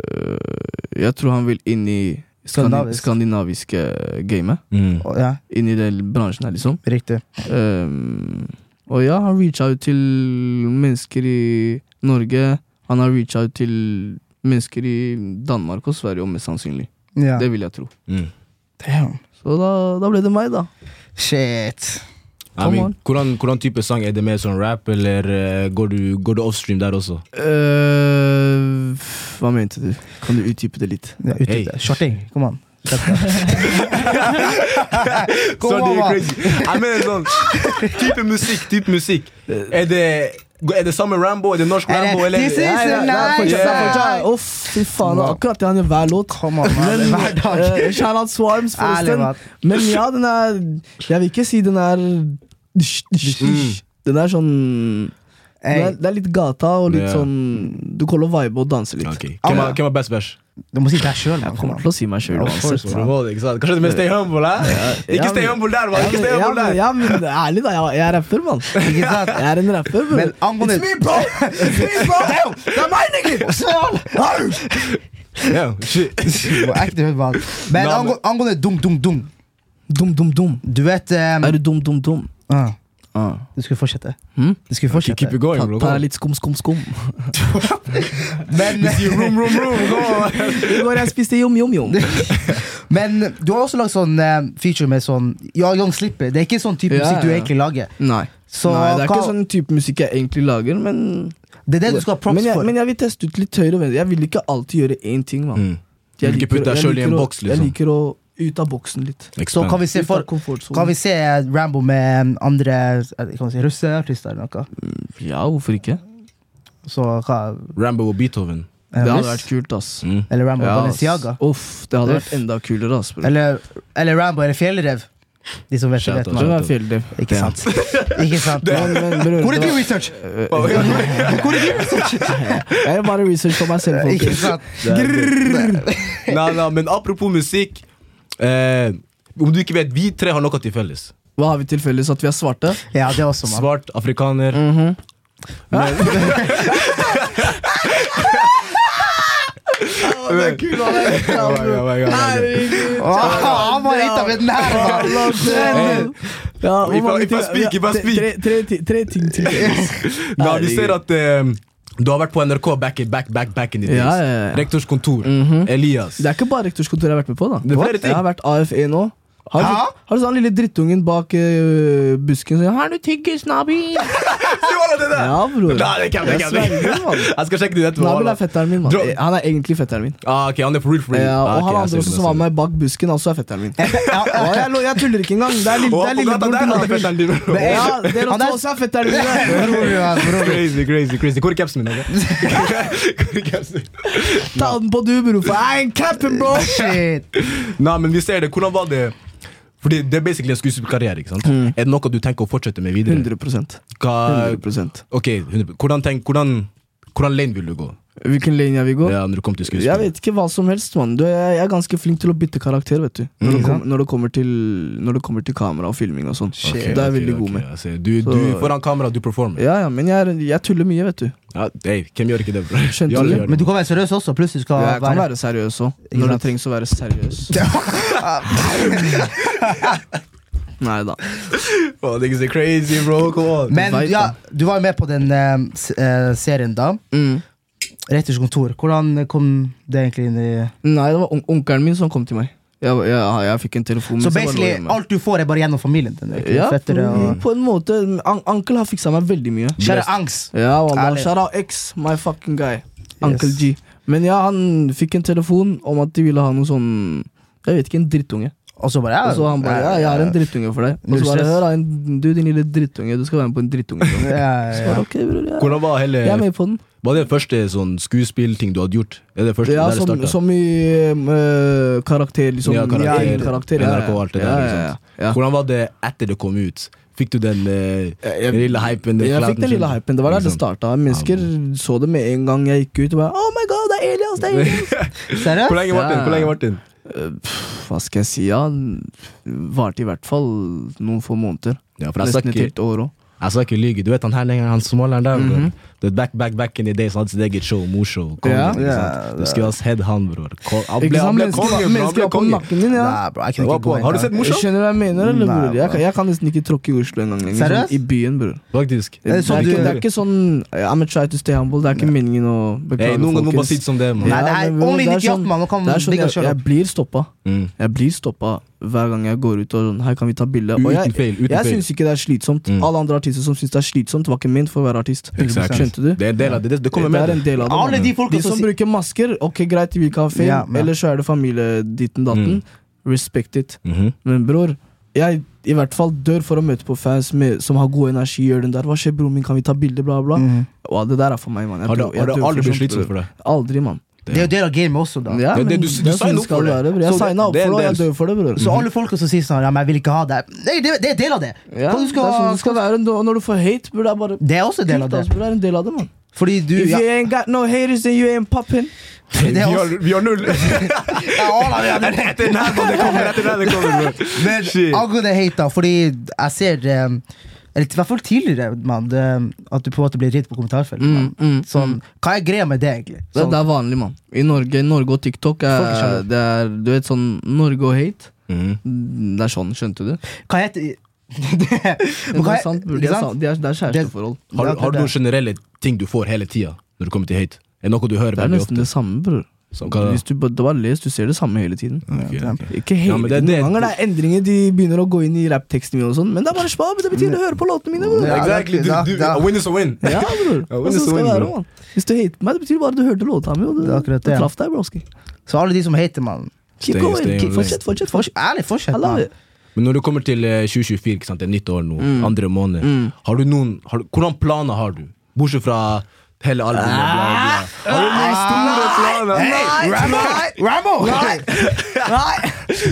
jeg tror han vil inn i skandi
Skandinavisk.
skandinaviske gamet.
Mm.
Å, Ja,
Inn i den bransjen her, liksom.
riktig.
Ehm, og ja, han reacha ut til mennesker i Norge. Han har reacha ut til mennesker i Danmark og Sverige, og mest sannsynlig.
Ja.
Det vil jeg tro.
Mm.
Damn.
Så da, da ble det meg, da.
Shit.
I mean,
on.
hvordan, hvordan type sang? Er det mer sånn rap, eller eh, går du, går du offstream der også?
Øh, hva mente du? Kan du utdype det litt?
Ja, utdyp
Hey.
det. Shorting, kom an.
(laughs)
Kom
Sånn,
an,
det er
mann.
crazy. Jeg mener sånn type musikk. type musikk Er det, er det samme Rambo? Er det norsk
Er det-
Rambo? Eller?
This is
Nei, nei, nei,
Nei,
fortsatt,
yeah.
fortsatt. Uff, fy faen, det er akkurat det han gjør hver låt.
Kom an, mann.
Men,
Hver dag.
eh, shout out Swarms,
Ærlig,
forresten.
mann.
Men ja, den er Jeg vil ikke si den er Den er sånn den
Mm. Hey,
er, Det er litt gata og litt
Ja.
sånn Du kaller vibe og danser litt.
Ok, Hvem har- hvem har best vers?
du må si deg sjøl, mann.
Jeg
Kom
kommer
an.
til å si meg sjøl
Of course,
uansett.
Det var det, ikke sant? Kanskje det med Stay Humble? Eh?
Ja,
Ikke Stay
men-
Humble der,
Ja,
mann! Ikke
men,
Stay
ja,
Humble
men,
der!
ja, men ærlig, da. Jeg, jeg er rapper, mann.
(laughs) Ikke sant?
Jeg er en rapper, bro.
Men angående-
It's me, bro! It's me,
(laughs)
bro! Det er meg, nigger! Au!
Ja, shit.
Må Ekte hørt, mann. Men
Navnet.
angå- angående dum, dum, dum.
Dum, dum, dum.
Du vet em,
Er du dum, dum, dum?
ah,
Ah.
Det skulle fortsette.
Hm?
Det skulle
Keep, keep
fortsette.
it going,
Ta,
bro.
ta
Go.
litt skum, skum, skum.
Men,
Room, room, room, go.
I går jeg spiste yum, yum, yum.
(laughs) men du har også lagd sånn eh, feature med sånn Ja, Young Slipper. Det er ikke sånn type
Ja,
musikk du
ja.
egentlig lager.
Nei.
Så
Nei, det er
hva,
ikke sånn type musikk jeg egentlig lager, men
det er det du skal ha props
men jeg,
for.
Men jeg vil teste ut litt høyre og venstre. Jeg vil ikke alltid gjøre én ting. Man.
Mm. Du vil ikke putte deg selv i en
å-
boks, liksom.
jeg liker å ut av boksen litt.
så kan vi se,
Ut av
for, kan
komfortsonen.
vi se Rambo med andre eh, kan vi si, russeartister eller noe.
Mm, Ja, hvorfor ikke?
Så hva
Rambo og Beethoven.
Det
eh,
hadde
russ?
vært kult, ass.
Mm.
Eller Rambo
Ja, ass.
Balenciaga.
Uff, det hadde vært enda kulere, ass. Bro.
Eller, eller Rambo eller Fjellrev. De som vet,
Shout
vet
out.
Det
man.
var fjelldel.
Ikke
Ja.
sant? (laughs) Ikke sant?
Men, men, bror,
Hvor er
det
din
(laughs) var-
research?
Jeg gjør bare research på meg selv,
Ikke
folkens.
sant?
Nei, nei, men apropos musikk. Eh, om du ikke vet, vi tre har noe til felles.
Hva har vi til felles? At vi er svarte?
Ja, det er også, mann.
Svart, afrikaner.
Det er kul, han er helt
Oh my God, oh my God, oh my God.
Åh, Han var hit av et nær, mann.
Hey.
Eh, Ja,
If
hvor
I-
mange
if I
ting-
speak, if I
tre-
speak.
tre- tre ti- Tre ting til.
Nei, vi ser at eh, du har vært på NRK back, in- back, back, back in the days.
Ja, ja, ja.
Rektors kontor. Elias.
Det er ikke bare rektorskontoret jeg har vært med på. da
Det er flere ting.
Jeg har vært AFE nå. Har
Ja?
du, har du sånn lille drittungen bak øh, busken som sier 'Har du tyggis, Nabil?'
(laughs) Du holder det der!
Ja, bror.
Nei, det kan jeg
Jeg sverger, mann.
(laughs) Jeg skal sjekke det etterpå.
Nabil er fetteren min. Man.
Dro-
Han er egentlig fetteren min.
Ah, ok, han er for real, for real.
Ja, og
Ah, ok,
han
jeg
andre
ser
også
det,
som
jeg
var
ser det.
med bak busken, altså er fetteren min. Og jeg, lo- jeg tuller ikke engang. Det er, lill,
Og
det er
han på
lillebror
gata der,
til
han er
Nabil.
fetteren din, bro.
Det er- Ja, dere
Han er-
to også er
(laughs)
fetteren min.
Bror, ja, bror.
Crazy, crazy, crazy. Hvor er capsen min? ok? Hvor er capsen min?
Ta den (laughs) på du, bror, for jeg er en cap'n, bro!
Shit.
(laughs) Nei, men vi ser det. Hvordan var det? Fordi Det er basically en skuespillerkarriere. ikke sant?
Mm.
Er det noe du tenker å fortsette med videre?
100
Hva,
100
ok, 100%. Hvordan, tenk, hvordan, hvordan lane vil du gå
Hvilken lane jeg vil gå?
ja, når du kommer til skuespill?
Jeg vet ikke hva som helst, mann. Du, Jeg jeg er ganske flink til å bytte karakter, vet du.
Mm.
Når, det,
Ikke sant?
kom, når, det, kommer, til, når det kommer til kamera og filming og sånn.
Ok,
Det er jeg
ok,
veldig
ok,
god med.
jeg ser. Du, du
Så-
foran kamera, du performer.
Ja, ja, men jeg, er- jeg tuller mye, vet du.
Ja, hey, hvem gjør ikke det, bror?
Skjønte
Vi alle
du?
gjør det.
Men du kan være seriøs også. Pluss du skal
Jeg kan
være
være seriøs òg,
Ikke
når det
sant?
trengs å være seriøs.
(laughs)
Nei da.
Oh, things are crazy, bro. Come on.
Men
Du vet
ja,
det.
du var jo med på den eh, s- eh, serien da.
Mm.
Retters kontor. Hvordan kom det egentlig inn i
Nei, det var on onkelen min som kom til meg. Jeg, jeg, jeg fikk en telefon. mens
Så
jeg var
basically,
hjemme.
alt du får, er bare gjennom familien din? egentlig.
ja,
Fettere og
Mm.
på en måte. An Ankel har fiksa meg veldig mye.
Kjære angst.
Ja, wallah.
Ærlig.
Shout out X, my fucking guy. Uncle G. Men ja, han fikk en telefon om at de ville ha noe sånn Jeg vet ikke, en drittunge.
Og så bare ja,
Og så han bare ja, jeg har en drittunge for deg. Og
Null
så bare
stress.
hør, da, en- du din lille drittunge, du skal være med på en drittunge.
(laughs)
ja,
(laughs)
ja, ja.
Bare, ok, bror, jeg,
Hvordan var hele
jeg er med på den.
Var det første sånn skuespillting du hadde gjort? Er det første
Ja,
der det
som,
startet?
som i eh, karakter, liksom.
Ja, karakter,
Ja, egen karakter, ja,
NRK og alt det der,
ja,
ikke
ja,
sant?
ja, ja.
Hvordan var det etter det kom ut? Fikk du den eh,
jeg-
lille hypen?
Jeg fikk den lille
liksom.
hypen. Det var der det starta. Mennesker så det med en gang jeg gikk ut. Og bare, oh my god, det er Elias! det er Elias
Seriøst?
Hvor lenge, Martin?
Ja.
Hvor lenge, Martin?
Eh, Hva skal jeg si, ja Varte i hvert fall noen få måneder
Ja, for jeg sa
Nesten et
ikke
helt år også
Jeg skal ikke lyge. Du vet han her lenger, han småleren der. bror. Det er back, back, back in the days, han hadde sitt eget show, morshow. Kongen,
Mhm. Ja.
ikke sant? Du skulle ha sett han, bror. Ko- Han
Ikke
ble,
sant,
han ble
mennesker
konge, bror. Han
mennesker
ble
var på
konge.
nakken din, ja
Nei, bro, jeg kunne
Det
ikke
var på-
gå inn
Har du
der.
sett morshow?
Skjønner du hva jeg mener, eller
Nei,
bror? Jeg,
bro.
kan- jeg kan nesten ikke tråkke i Oslo en gang lenger sånn,
Seriøst?
I byen, bror
Faktisk.
det,
det sånn
er
du-
ikke, det er ikke sånn I'm gonna try to stay humble Det er ikke meningen å
Hey,
beklage
noen ganger må bare si det
folkens
som det er, mann.
Nei, det er
men bror,
only
det er
ditt hjelp,
sånn-
man. Man kan
Det er sånn,
bygge
jeg,
oss selv
jeg
opp.
blir stoppa
Mm.
Jeg blir stoppa hver gang jeg går ut og sånn Her kan vi ta bilde Og
Uten feil,
jeg,
uten
jeg
feil.
synes ikke det er slitsomt
Mm.
Alle andre artister som synes det er slitsomt Var ikke ment for å være artist
Exakt.
Skjønte du?
Det er en del av det. Det, det kommer
det
med
er en del av det.
Alle de
De
folka
som
som sier
bruker masker, ok greit, vi kan ha film,
Ja, men-
eller så er det familieditten
Mm.
datten. Respect it. (laughs)
Mhm.
Men bror, jeg i hvert fall dør for å møte på fans med, som har god energi. gjør den der, Hva skjer, bror min, kan vi ta bilde, bla, bla?
Mhm.
Og det der er for meg, mann. Jeg
Har det,
dør- jeg
har det
dør for
aldri blitt
sånt,
slitsomt for
bror.
deg?
Aldri, mann.
Det er jo del av gamet også, da.
Ja,
Det- det-
men
du-
det
du
er sånn
signer
det
opp for
skal
det.
være, bror.
Så
Jeg
det-
signa opp
det er en
for det, og jeg
del-
dør for det, bror.
Så alle folka som sier sånn ja, men 'jeg vil ikke ha det' Nei, det, det er del av det.
ja,
Hva du
det
skal-
er sånn det skal være. Og når du får hate, bror, det er bare
Det er også del
Kult,
av det.
ass, bror, det er en del av det, mann.
Fordi du
If
ja,
you ain't got no haters, then you ain't poppin'.
det er
Vi har,
også,
vi har null! (laughs)
ja, alle er det.
etter den her, mann, det kommer, etter den her, det kommer, bror.
Men
Shit.
angående hate, da, fordi jeg ser eh, eller i hvert fall tidligere, mann, det, at du på en måte blir ridd på kommentarfeltet. mann.
mm,
sånn, hva er greia med det, egentlig?
Det,
Sånn,
det er vanlig, mann. I Norge, Norge og TikTok
Folk er
er,
sjalu.
det er Du vet sånn Norge og hate.
Mhm.
Det er sånn, skjønte du?
hva heter (laughs)
Det er sant, altså. bror. De
Ikke
er,
sant?
sa- de er, det er kjæresteforhold.
Har,
Ja,
du-
det
har
er
du
det.
noen generelle ting du får hele tida når du kommer til hate? Er det noe du hører
Det er
veldig
nesten
ofte?
det samme, bror.
Som kan-
Hvis du bare, du bare les, du ser det samme hele tiden.
Ok, ok.
Ikke hele
Ja, men det
tiden.
er det-
Noen ganger det er endringer, de begynner å gå inn i rappteksten min, og sånn men det er bare spab. Det betyr å høre på låtene mine. Bro.
Ja,
Exactly. Du,
da-
du,
da-
a win is a win.
Ja, bror.
Ja, men
Og så
det
skal
så
det
inn,
være,
bro.
man. Hvis du hater meg, det betyr bare at du hørte låta mi, og du,
Det er akkurat
du
det.
traff deg, broski.
Så alle de som hater, mann.
Keep
Stay-
going.
stay on
Keep,
lane.
fortsett, fortsett, fortsett.
Ærlig,
I
fortsett,
love
mann.
it.
Men når du kommer til eh, 2024, ikke sant? det er nytt år nå,
Mm.
andre måned, har du noen har, du- Hvordan planer har du? Bortsett fra hele albumet. Bla,
Ah!
bla. Har du noen store planer?
Hey, Rambo! Rambo!
Nei!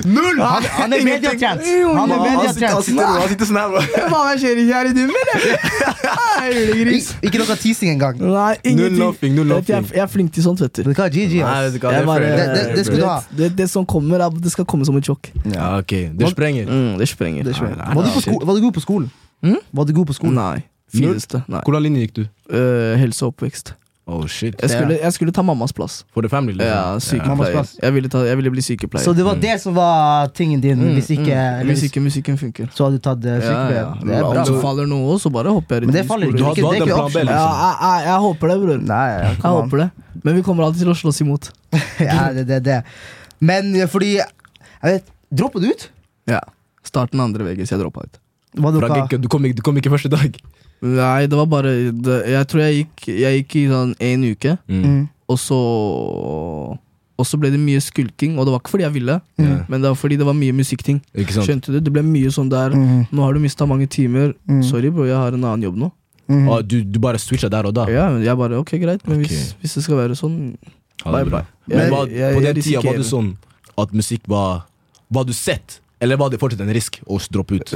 Null!
Han, han
(laughs)
er mediatrent. Han er
Han, han, sitter, han,
mediatrent.
sitter, han sitter sånn her, bro.
Faen, jeg ser ikke her i dummen, jeg. (laughs) Nei, Julegris.
Ik- Ikke noe teasing engang.
Nei, ingenting.
laughing, no
Vet du, jeg,
laughing.
jeg er flink til sånt, vet du.
Vet du hva, GG,
Nei,
ass.
vet du hva, det
Jeg
er
bare-
fair,
Det- det- det skal du ha.
Det, det som kommer, er- det skal komme som et sjokk.
Ja, ok, det sprenger.
Mm, det sprenger.
Det er svært.
Nei, nei,
Var du
nei,
på sko- var du god på skolen?
Mm?
Var du god på skolen?
Nei. Fineste. Nei.
Hvordan linje gikk du?
Øh, helse og oppvekst.
Oh shit.
Jeg skulle, jeg skulle ta mammas plass.
For the family, liksom.
Ja,
Mammas
sykepleier.
plass.
Jeg ville, ta, jeg ville bli sykepleier. Mm,
Så det var det som var tingen din,
Hmm,
hvis ikke, eller
Hvis
hvis-
ikke musikken funker.
så hadde du tatt eh, sykepleier?
Det
Det er bra.
Om det faller nå òg, så bare hopper jeg
Men
rett
det faller
skolen.
ikke.
Du har-
Det
du har
er
den
ikke
plan B,
option.
Ja,
liksom.
jeg, jeg, jeg håper det, bror.
Nei, ja,
Jeg
come on.
håper det. Men vi kommer alltid til å slåss imot.
Ja, det, det, det. Men eh, fordi jeg vet, Droppa du ut?
Ja. Starten andre VG, så jeg droppa ut.
Var det
For han
noe-
gikk- Du kom, ikke- du kom ikke første dag.
Nei, det var bare det, Jeg tror jeg gikk, jeg gikk i sånn én uke,
Mm.
og så Og så ble det mye skulking, og det var ikke fordi jeg ville,
Ja,
men det var fordi det var mye musikkting.
Ikke sant?
Skjønte du? Det ble mye sånn der
Mm.
Nå har du mista mange timer.
Mm.
Sorry, bro, jeg har en annen jobb nå.
Mm.
Ah, du, du bare switcha der og da?
Ja, men jeg bare, ok, greit, men hvis,
Ok.
hvis det skal være sånn
Ja, det er
Bye,
bra.
bye.
Men
Jeg-
var,
jeg-
på
jeg
den tida var
risikerer.
det sånn at musikk var Var du sett, eller var det fortsatt en risk å droppe ut?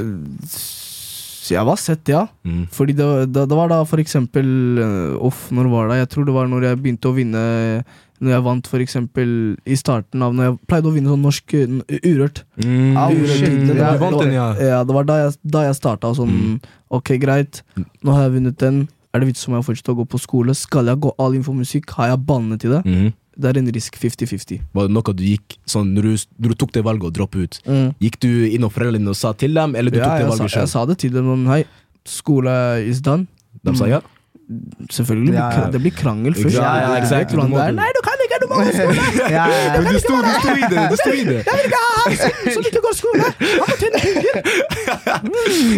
Så Jeg var sett, ja.
Mm.
Fordi det, var- da- det var da for eksempel eh, Off, når var det? Jeg tror det var når jeg begynte å vinne Når jeg vant for eksempel i starten av Når jeg pleide å vinne sånn norsk eh, n- urørt.
Mm.
Au,
Urørt
shit,
titel,
det
det
der-
var-
Du vant den, ja.
Ja, det var da jeg, da jeg starta og sånn Ok, greit, nå har jeg vunnet den. Er det vits om jeg fortsetter å gå på skole? Skal jeg gå all in for musikk? Har jeg ballene til det?
eh,
Mhm.
Det er en risk 50-50.
Var det noe du gikk sånn når du, når du tok det valget å droppe ut? Gikk du innom foreldrene dine og Mm. sa til dem, eller du
Ja,
tok det
jeg, sa,
valget
jeg
sjøl?
sa det til dem. men Hei, skole is done.
De sa ja?
Selvfølgelig. blir
Ja, ja.
kra- Det blir krangel først.
Ja, ja,
Det er
exakt.
hvordan
Du må-
det er. Nei, du kan ikke! Du må gå på skole!
(laughs) Ja, ja, ja.
(laughs) Men du sto, du sto i det! Du sto i det.
Jeg vil ikke ha han som, som ikke går på skole! Han må tjene penger!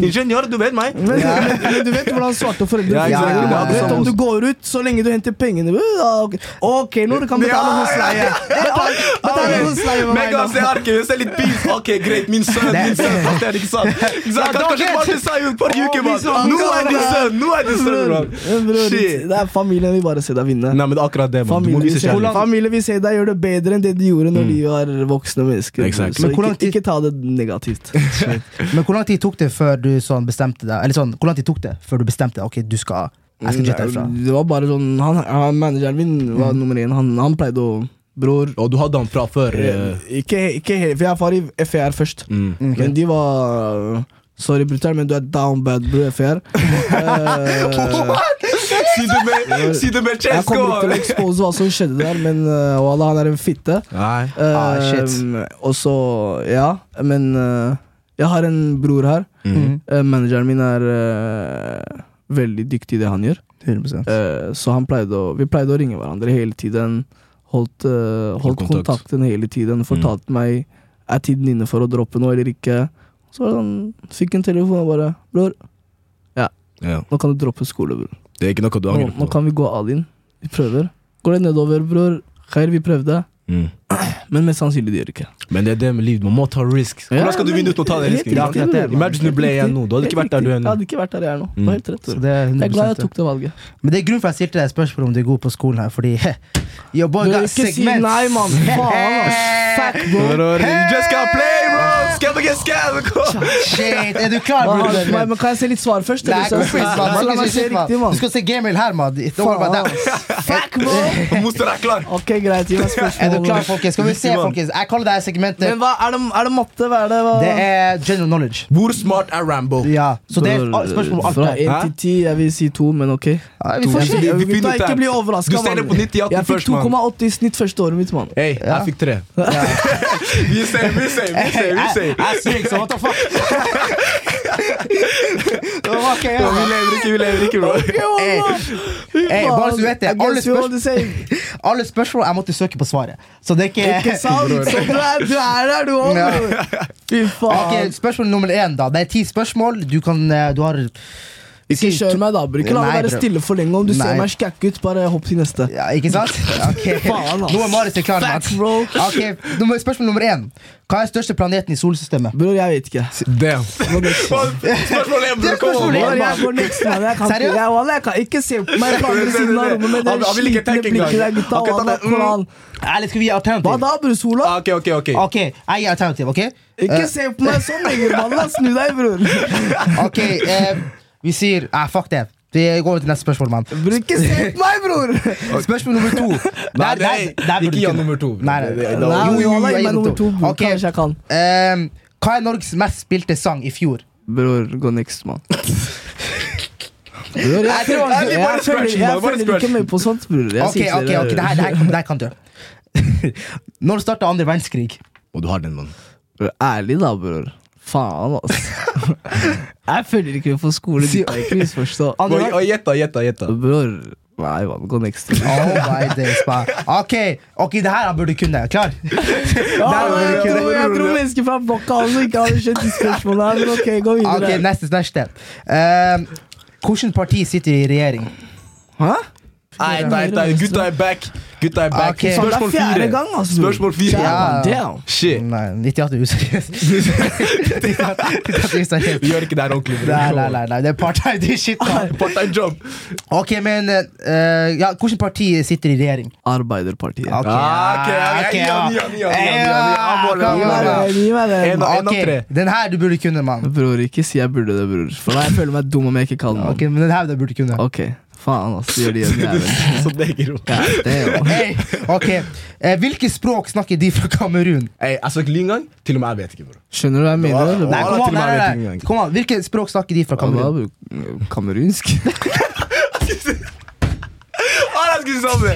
Ingeniør, du vet meg!
Men, men, men du vet hvordan svarte foreldre
Ja,
fungerer.
exakt.
Du
Ja, ja,
vet
ja.
Om du går ut så lenge du henter pengene ja, Ok, Ok, når du kan betale husleie. Betal- Betale husleie med meg,
Megan
da.
ser arket, jeg ser litt pils. Ok, greit, min sønn, min sønn. alt er Ikke sant? Ikke sant? Kan- Kanskje bare det sa jo et par uker,
min
mann.
sønn,
Nå er din sønn! Nå er din sønn,
Bror, bror,
mann. Shit.
Det er familien vil bare se deg vinne.
Nei, men det er akkurat det, mann. Du må
Familien vil,
vise
se, Mm.
kjærlighet.
familien vil se deg gjøre det bedre enn det de gjorde når de var voksne mennesker.
Exakt.
Så
Men hvor lang
ikke,
tid-
ikke ta det negativt. (laughs)
Men hvor lang tid tok det før du sånn bestemte deg Eller sånn, hvor lang tid tok det før du bestemte deg Ok, du skal, jeg skal jette herfra
Mm, Det Mm. var bare sånn han, han, Manageren min var nummer én. Han, han pleide å Bror
Og du hadde han fra før. eh,
Ikke, ikke helt, for jeg var i FR først.
Mm.
Men de var Sorry, brutter'n, men du er down bad, bror.
(laughs)
FR. Eh,
Si det med, si det med
jeg
Chesko!
kommer ikke til å expose hva som skjedde der, men eh, wallah, han er en fitte.
Nei.
Eh,
Ah, shit.
og så Ja, men eh, jeg har en bror her.
Mm.
Eh, manageren min er eh, veldig dyktig i det han gjør.
100%
Eh, Så han pleide å, vi pleide å ringe hverandre hele tiden. Holdt, eh, holdt
kontakt. Mm.
kontakten hele tiden. Fortalte meg er tiden inne for å droppe noe eller ikke. Så var det sånn, fikk en telefon og bare 'Bror,
Ja.
nå kan du droppe skole, bror.
Det er ikke noe du
Nå,
angrer
nå
på.
kan vi gå all in. Vi prøver. Går det nedover, bror? Khair, vi prøvde.
Mm.
Men mest sannsynlig det gjør det ikke.
Men det er det med livet. Man må ta risk.
Ja,
Hvordan skal du
men-
vinne uten å ta den
helt
risken?
riktig, bror.
Imagine du ble
Helt
igjen nå. Du hadde
riktig.
ikke vært der du er
Jeg
nå.
hadde ikke vært der jeg er nå.
Mm.
Det var helt rett.
Så
bror.
det er
Jeg er glad jeg
100%
tok det valget.
Men det er grunnen for at jeg stilte deg spørsmål om du er god på skolen her Fordi (laughs) Your boy
Du,
got
ikke si
segments
nei, mann.
(laughs)
Faen, ass. Fuck, bro.
Bror, You just gotta play, bro! Scam against scam! Kom.
Shit, er du klar,
Hva har
brother?
du- Nei, men kan jeg se litt svar først?
Nei,
eller? Så-
kompis, man.
Så La meg se riktig, mann.
Du skal se Gamil her, mann Don't worry about that.
Fuck, bro!
Moster er klar.
(laughs) Ok, greit.
(laughs)
Gi meg spørsmål.
Er du klar, folkens? Skal vi se,
Riktig, mann.
folkens Jeg kaller det her
Men
segmentet
hva, er, det, er det matte? Hva er det? Hva?
Det er general knowledge
Hvor smart er Rambo?
Ja, så det er
Bror,
spørsmål om alt
Fra 1
her.
til 10, jeg vil si 2, men ok.
Ja, Vi får
To.
se
(laughs)
Vi- vi finner
Gutta,
ut det her.
ikke bli overraska.
Du ser det på 98
Jeg fikk
først, mann.
2,8 i snitt første året mitt,
(laughs)
mann.
Hei, jeg fikk tre. (laughs) Vi ser, vi ser, vi ser. vi
Jeg
ser.
jeg er syk, så what the fuck? (laughs)
Vi lever ikke, vi lever ikke, bro.
Hey, hey, eh, bare så du vet det,
I
alle
guess you're all the same.
(laughs) Alle spørsmål jeg måtte søke på svaret. Så det er ikke,
Ikke sant? Så du er, du er der, du òg, bror. Fy
(laughs) Ok,
faen.
Spørsmål nummer én, da. Det er ti spørsmål. Du kan eh, Du har
Ikke kjør meg, da. bror. Ikke la
Nei,
meg være
bror.
stille for lenge. Om du ser
Nei.
meg skækk ut, bare hopp til neste.
ja, Ikke (laughs) sant? Ok,
Faen, ass.
Nå er Marius klar.
Facts,
Mats.
bro.
Ok, nummer- Spørsmål nummer én. Hva er største planeten i solsystemet?
Bror, jeg vet ikke.
Damn. Spørsmålet er,
Det
bror,
er
kom
spørsmålet.
on.
Bror, jeg går next, man. Jeg kan ikke,
Seriøst?
jeg, wallah, jeg kan ikke se på meg på andre siden av rommet med
Han-
det
han vil ikke
slitne
tenke engang.
blikket der, gutta.
Han kan ta
wallah,
det, mm.
koran.
Ærlig, skal vi gi
Hva
alternativ?
da, bror Sola?
Ah, Ok, ok, ok.
Ok, jeg gir alternativ. ok?
Ikke se på meg sånn lenger, mann. Snu deg, bror.
(laughs) Ok, eh, Vi sier ah, Fuck det. Vi går til neste spørsmål, mann.
Bror, ikke se på meg, bror!
Spørsmål nummer
(laughs)
to. Der- der-
nei,
der burde
ikke
du
ja
kunne.
nummer to, bro.
Nei, nei,
Det- det-
nei.
det-
Nei,
Jo, jo, jo,
wallah,
jeg
gi
gir
meg nummer to. bror.
Ok,
Kanskje jeg kan.
ehm, Hva er Norges mest spilte sang i fjor?
Bror, gå next, mann. (laughs) Bror, jeg,
tror-
jeg,
vi bare
følger-
scratch,
jeg
man, bare
følger ikke
scratch.
med på sånt, bror. Jeg
Ok,
sier til
ok,
dere,
ok, det her, det her, det her kan du (laughs) Når starta andre verdenskrig?
Og du har den, mann.
bror, Ærlig, da, bror. Faen,
(laughs)
altså. Jeg følger ikke med på skole. Du kan ikke misforstå.
Andre
Og-
verdenskrig
og Gjett, da. Gjett, da. gjett da.
Bror, nei, mann. Gå next.
Oh
(laughs)
my days, man. Ok, ok, det her han burde kunne. Klar?
Ja,
Der var
men
det
jeg,
ikke
tror, jeg tror mennesker fra blokka altså ikke hadde skjønt de spørsmålene her, men ok, gå
(laughs)
Ok,
videre.
neste, neste. Ehm, Hvilket parti sitter i regjering?
Hæ?
Nei, nei, nei, gutta er back. Gutta er back.
Ok.
Faen, det er
Spørsmål
fjerde
fire.
gang, altså. bror.
Spørsmål fire.
Ja.
Damn.
Shit.
Nei, 98 er
(laughs)
useriøst. 98 er useriøst.
Vi gjør ikke det her ordentlig. bror.
Nei, nei, nei, nei, det er part-time, det er shit. da.
Part-time job.
Ok, men eh, ja, Hvilket parti sitter i regjering?
Arbeiderpartiet.
Ok,
Ah, ok, ja,
ok,
ja, ja, ja, ja, ja, ja,
Ja,
ja, ja,
Gi
ja,
meg
ja.
det, gi meg det.
En av- en av
Ok,
tre.
Den her du burde kunne, mann.
Bror, ikke si jeg burde det, bror. For da jeg føler meg dum om jeg ikke kan
Ok,
det.
men den her du burde kunne.
Ok, faen, ass. Gjør
(laughs)
det igjen, jævel.
Så begge ro.
Ja, det er jo.
Hey, ok, eh, Hvilke språk snakker de fra Kamerun?
Ey, Jeg søkte Lingang. Til og med jeg vet ikke, bror.
Skjønner du hva jeg mener? eller?
Nei,
Å,
kom
til og
an,
med
nei,
jeg vet
nei,
ikke
nei.
engang.
Kom an, Hvilke språk snakker de fra
Ja, da,
Kamerun?
bror. Kamerunsk?
All jeg skulle si det!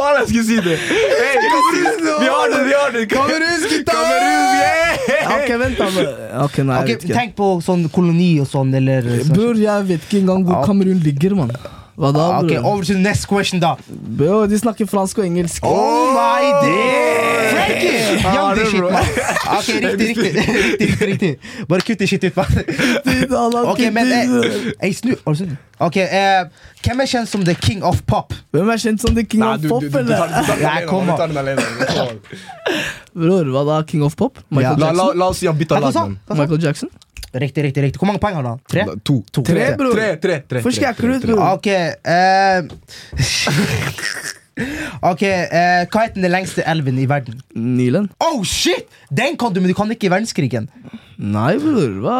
All jeg skulle si det! Hey, vi har den, vi har den! Kamerunsk, gutta! Kamerunsk,
Ja,
yeah!
Ok, vent, da. men- Ok, nei, jeg
Ok,
vet ikke.
Tenk på sånn koloni og sånn, eller sånn.
Bror, jeg vet ikke engang hvor
Ja.
Kamerun ligger, mann. Hva da,
Ok,
bror?
Over til next question, da.
Bror, de snakker fransk og engelsk.
Oh my
Oi!
day! Frankie!
Ja,
Young
det
the
er
shit,
bra.
man. Ok, riktig, riktig. riktig, riktig, riktig. Bare kutt det shit ut, mann. Ok, men eh, eh, snu. Har du snudd? Ok, eh, Hvem er kjent som the king of pop?
Hvem er kjent som The King
Nei,
of
du,
Pop,
du, du, tar-
eller?
du tar den
Nei,
alene,
kom
du
an.
tar den alene. Kom an.
Bror, hva da? King of Pop? Michael
La, la,
Jackson?
la oss si han bytter
Hva
lag,
sa
mann.
Michael Jackson?
Riktig, riktig. riktig Hvor mange poeng har han? Tre?
To.
To.
Tre,
Tre, bror.
Tre, tre, tre.
Hvorfor
tre,
skrekker du ut,
tre, tre.
bror?
Ok, eh, (laughs) Ok, eh, hva heter den lengste elven i verden?
Nyland?
Oh shit! Den kan du, men du kan ikke i verdenskrigen.
Nei, bror. Hva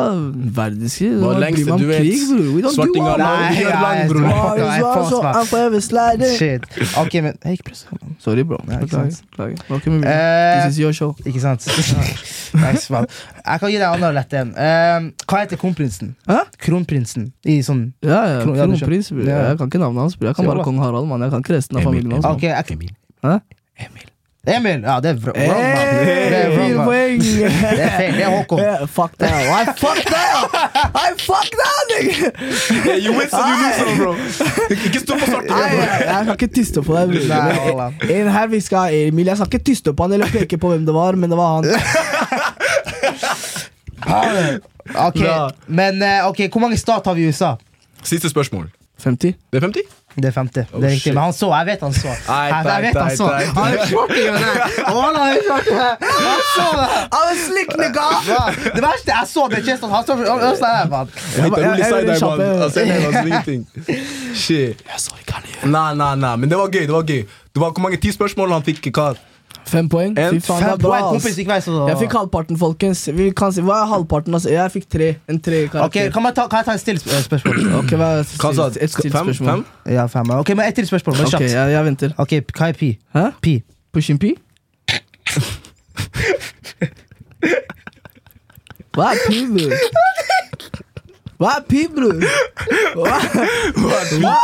verdenskrig?
Hva
Hva
lengste
bryr meg om
du vet?
krig, bror? We don't do
Svartinga
all that.
lang,
Nei,
vi gjør
ja,
lang,
jeg
bror.
tror-
Mars
Nei,
was
fuck,
on
nei.
a forever sliding.
Shit. Ok, men Jeg gikk pressa.
Sorry, bro.
Nei, ikke
Beklager.
sant.
Beklager. Det var ikke min vilje.
Eh,
This is your show.
ikke sant? Nice, man. Jeg kan gi deg en annen lett en. Eh, hva heter kronprinsen?
Hæ?
Kronprinsen i sånn
Ja, ja,
Kron- ja, du
kronprins. bror.
Ja, ja.
Jeg kan ikke navnet hans. bror. Jeg kan
Se,
bare
hva?
kong Harald, mann. Jeg kan ikke resten av familien hans. mann.
Ok, jeg,
(laughs) Emil.
Hæ?
Emil! Ja, det er vr- wrong, man. Det er
Hey,
wrong,
fire
man.
(laughs) poeng!
Det er feil. Det er Håkon.
Yeah, Fuck that. I fuck that! I fuck that, nigga!
Yeah, You win, so you lose, so, bro. Ikke stå på svarte.
Nei, jeg, jeg kan ikke tyste på deg.
Nei,
bror.
Allan.
En her hviska Emil. Jeg skal ikke tyste på han eller peke på hvem det var, men det var han.
Ok,
Bra.
men eh, ok, hvor mange stat har vi i USA?
Siste spørsmål.
50.
Det er 50?
Det er 50.
Oh,
det er riktig.
shit.
Men han så, jeg vet han så.
Nei,
jeg, jeg
nei,
vet han
altså.
så.
nei, nei, nei.
Han er sjokket over det. Wallah, han er sjokket. Han så det.
I'm a slick nigga!
Ja, Det verste jeg så med Cheston, han så han så der, mann.
Jeg
Jeg-
hittet rolig
jeg- jeg
side
vil
eye,
kjappe-
mann. Altså, jeg
(laughs)
mener, altså, ingenting. Shit.
Jeg så ikke han gjøre
Nei, nei, nei, men det var gøy. det var gøy Det var Hvor mange ti spørsmål han fikk? Hva?
Fem poeng. Fy
En
faen, det
Fem
er bra.
poeng, kompis,
ass.
ikke vei, så
Jeg fikk halvparten, folkens. Vi kan si, Hva er halvparten? Altså? Jeg fikk tre. En
Ok,
trekarakter.
kan, man ta, kan jeg ta en stille sp- eh, spørsmål?
Ok, hva er
Hva sa
stilt- et stilt
Fem?
spørsmål?
Fem?
Ja, fem. ja. Ok, men ett til spørsmål. Men
Ok,
kjapt.
jeg, jeg venter.
Ok, hva er pi?
Hæ?
Pi.
Pushin' P? Hva er P, bror? Hva er P, bror? Hva, hva, hva er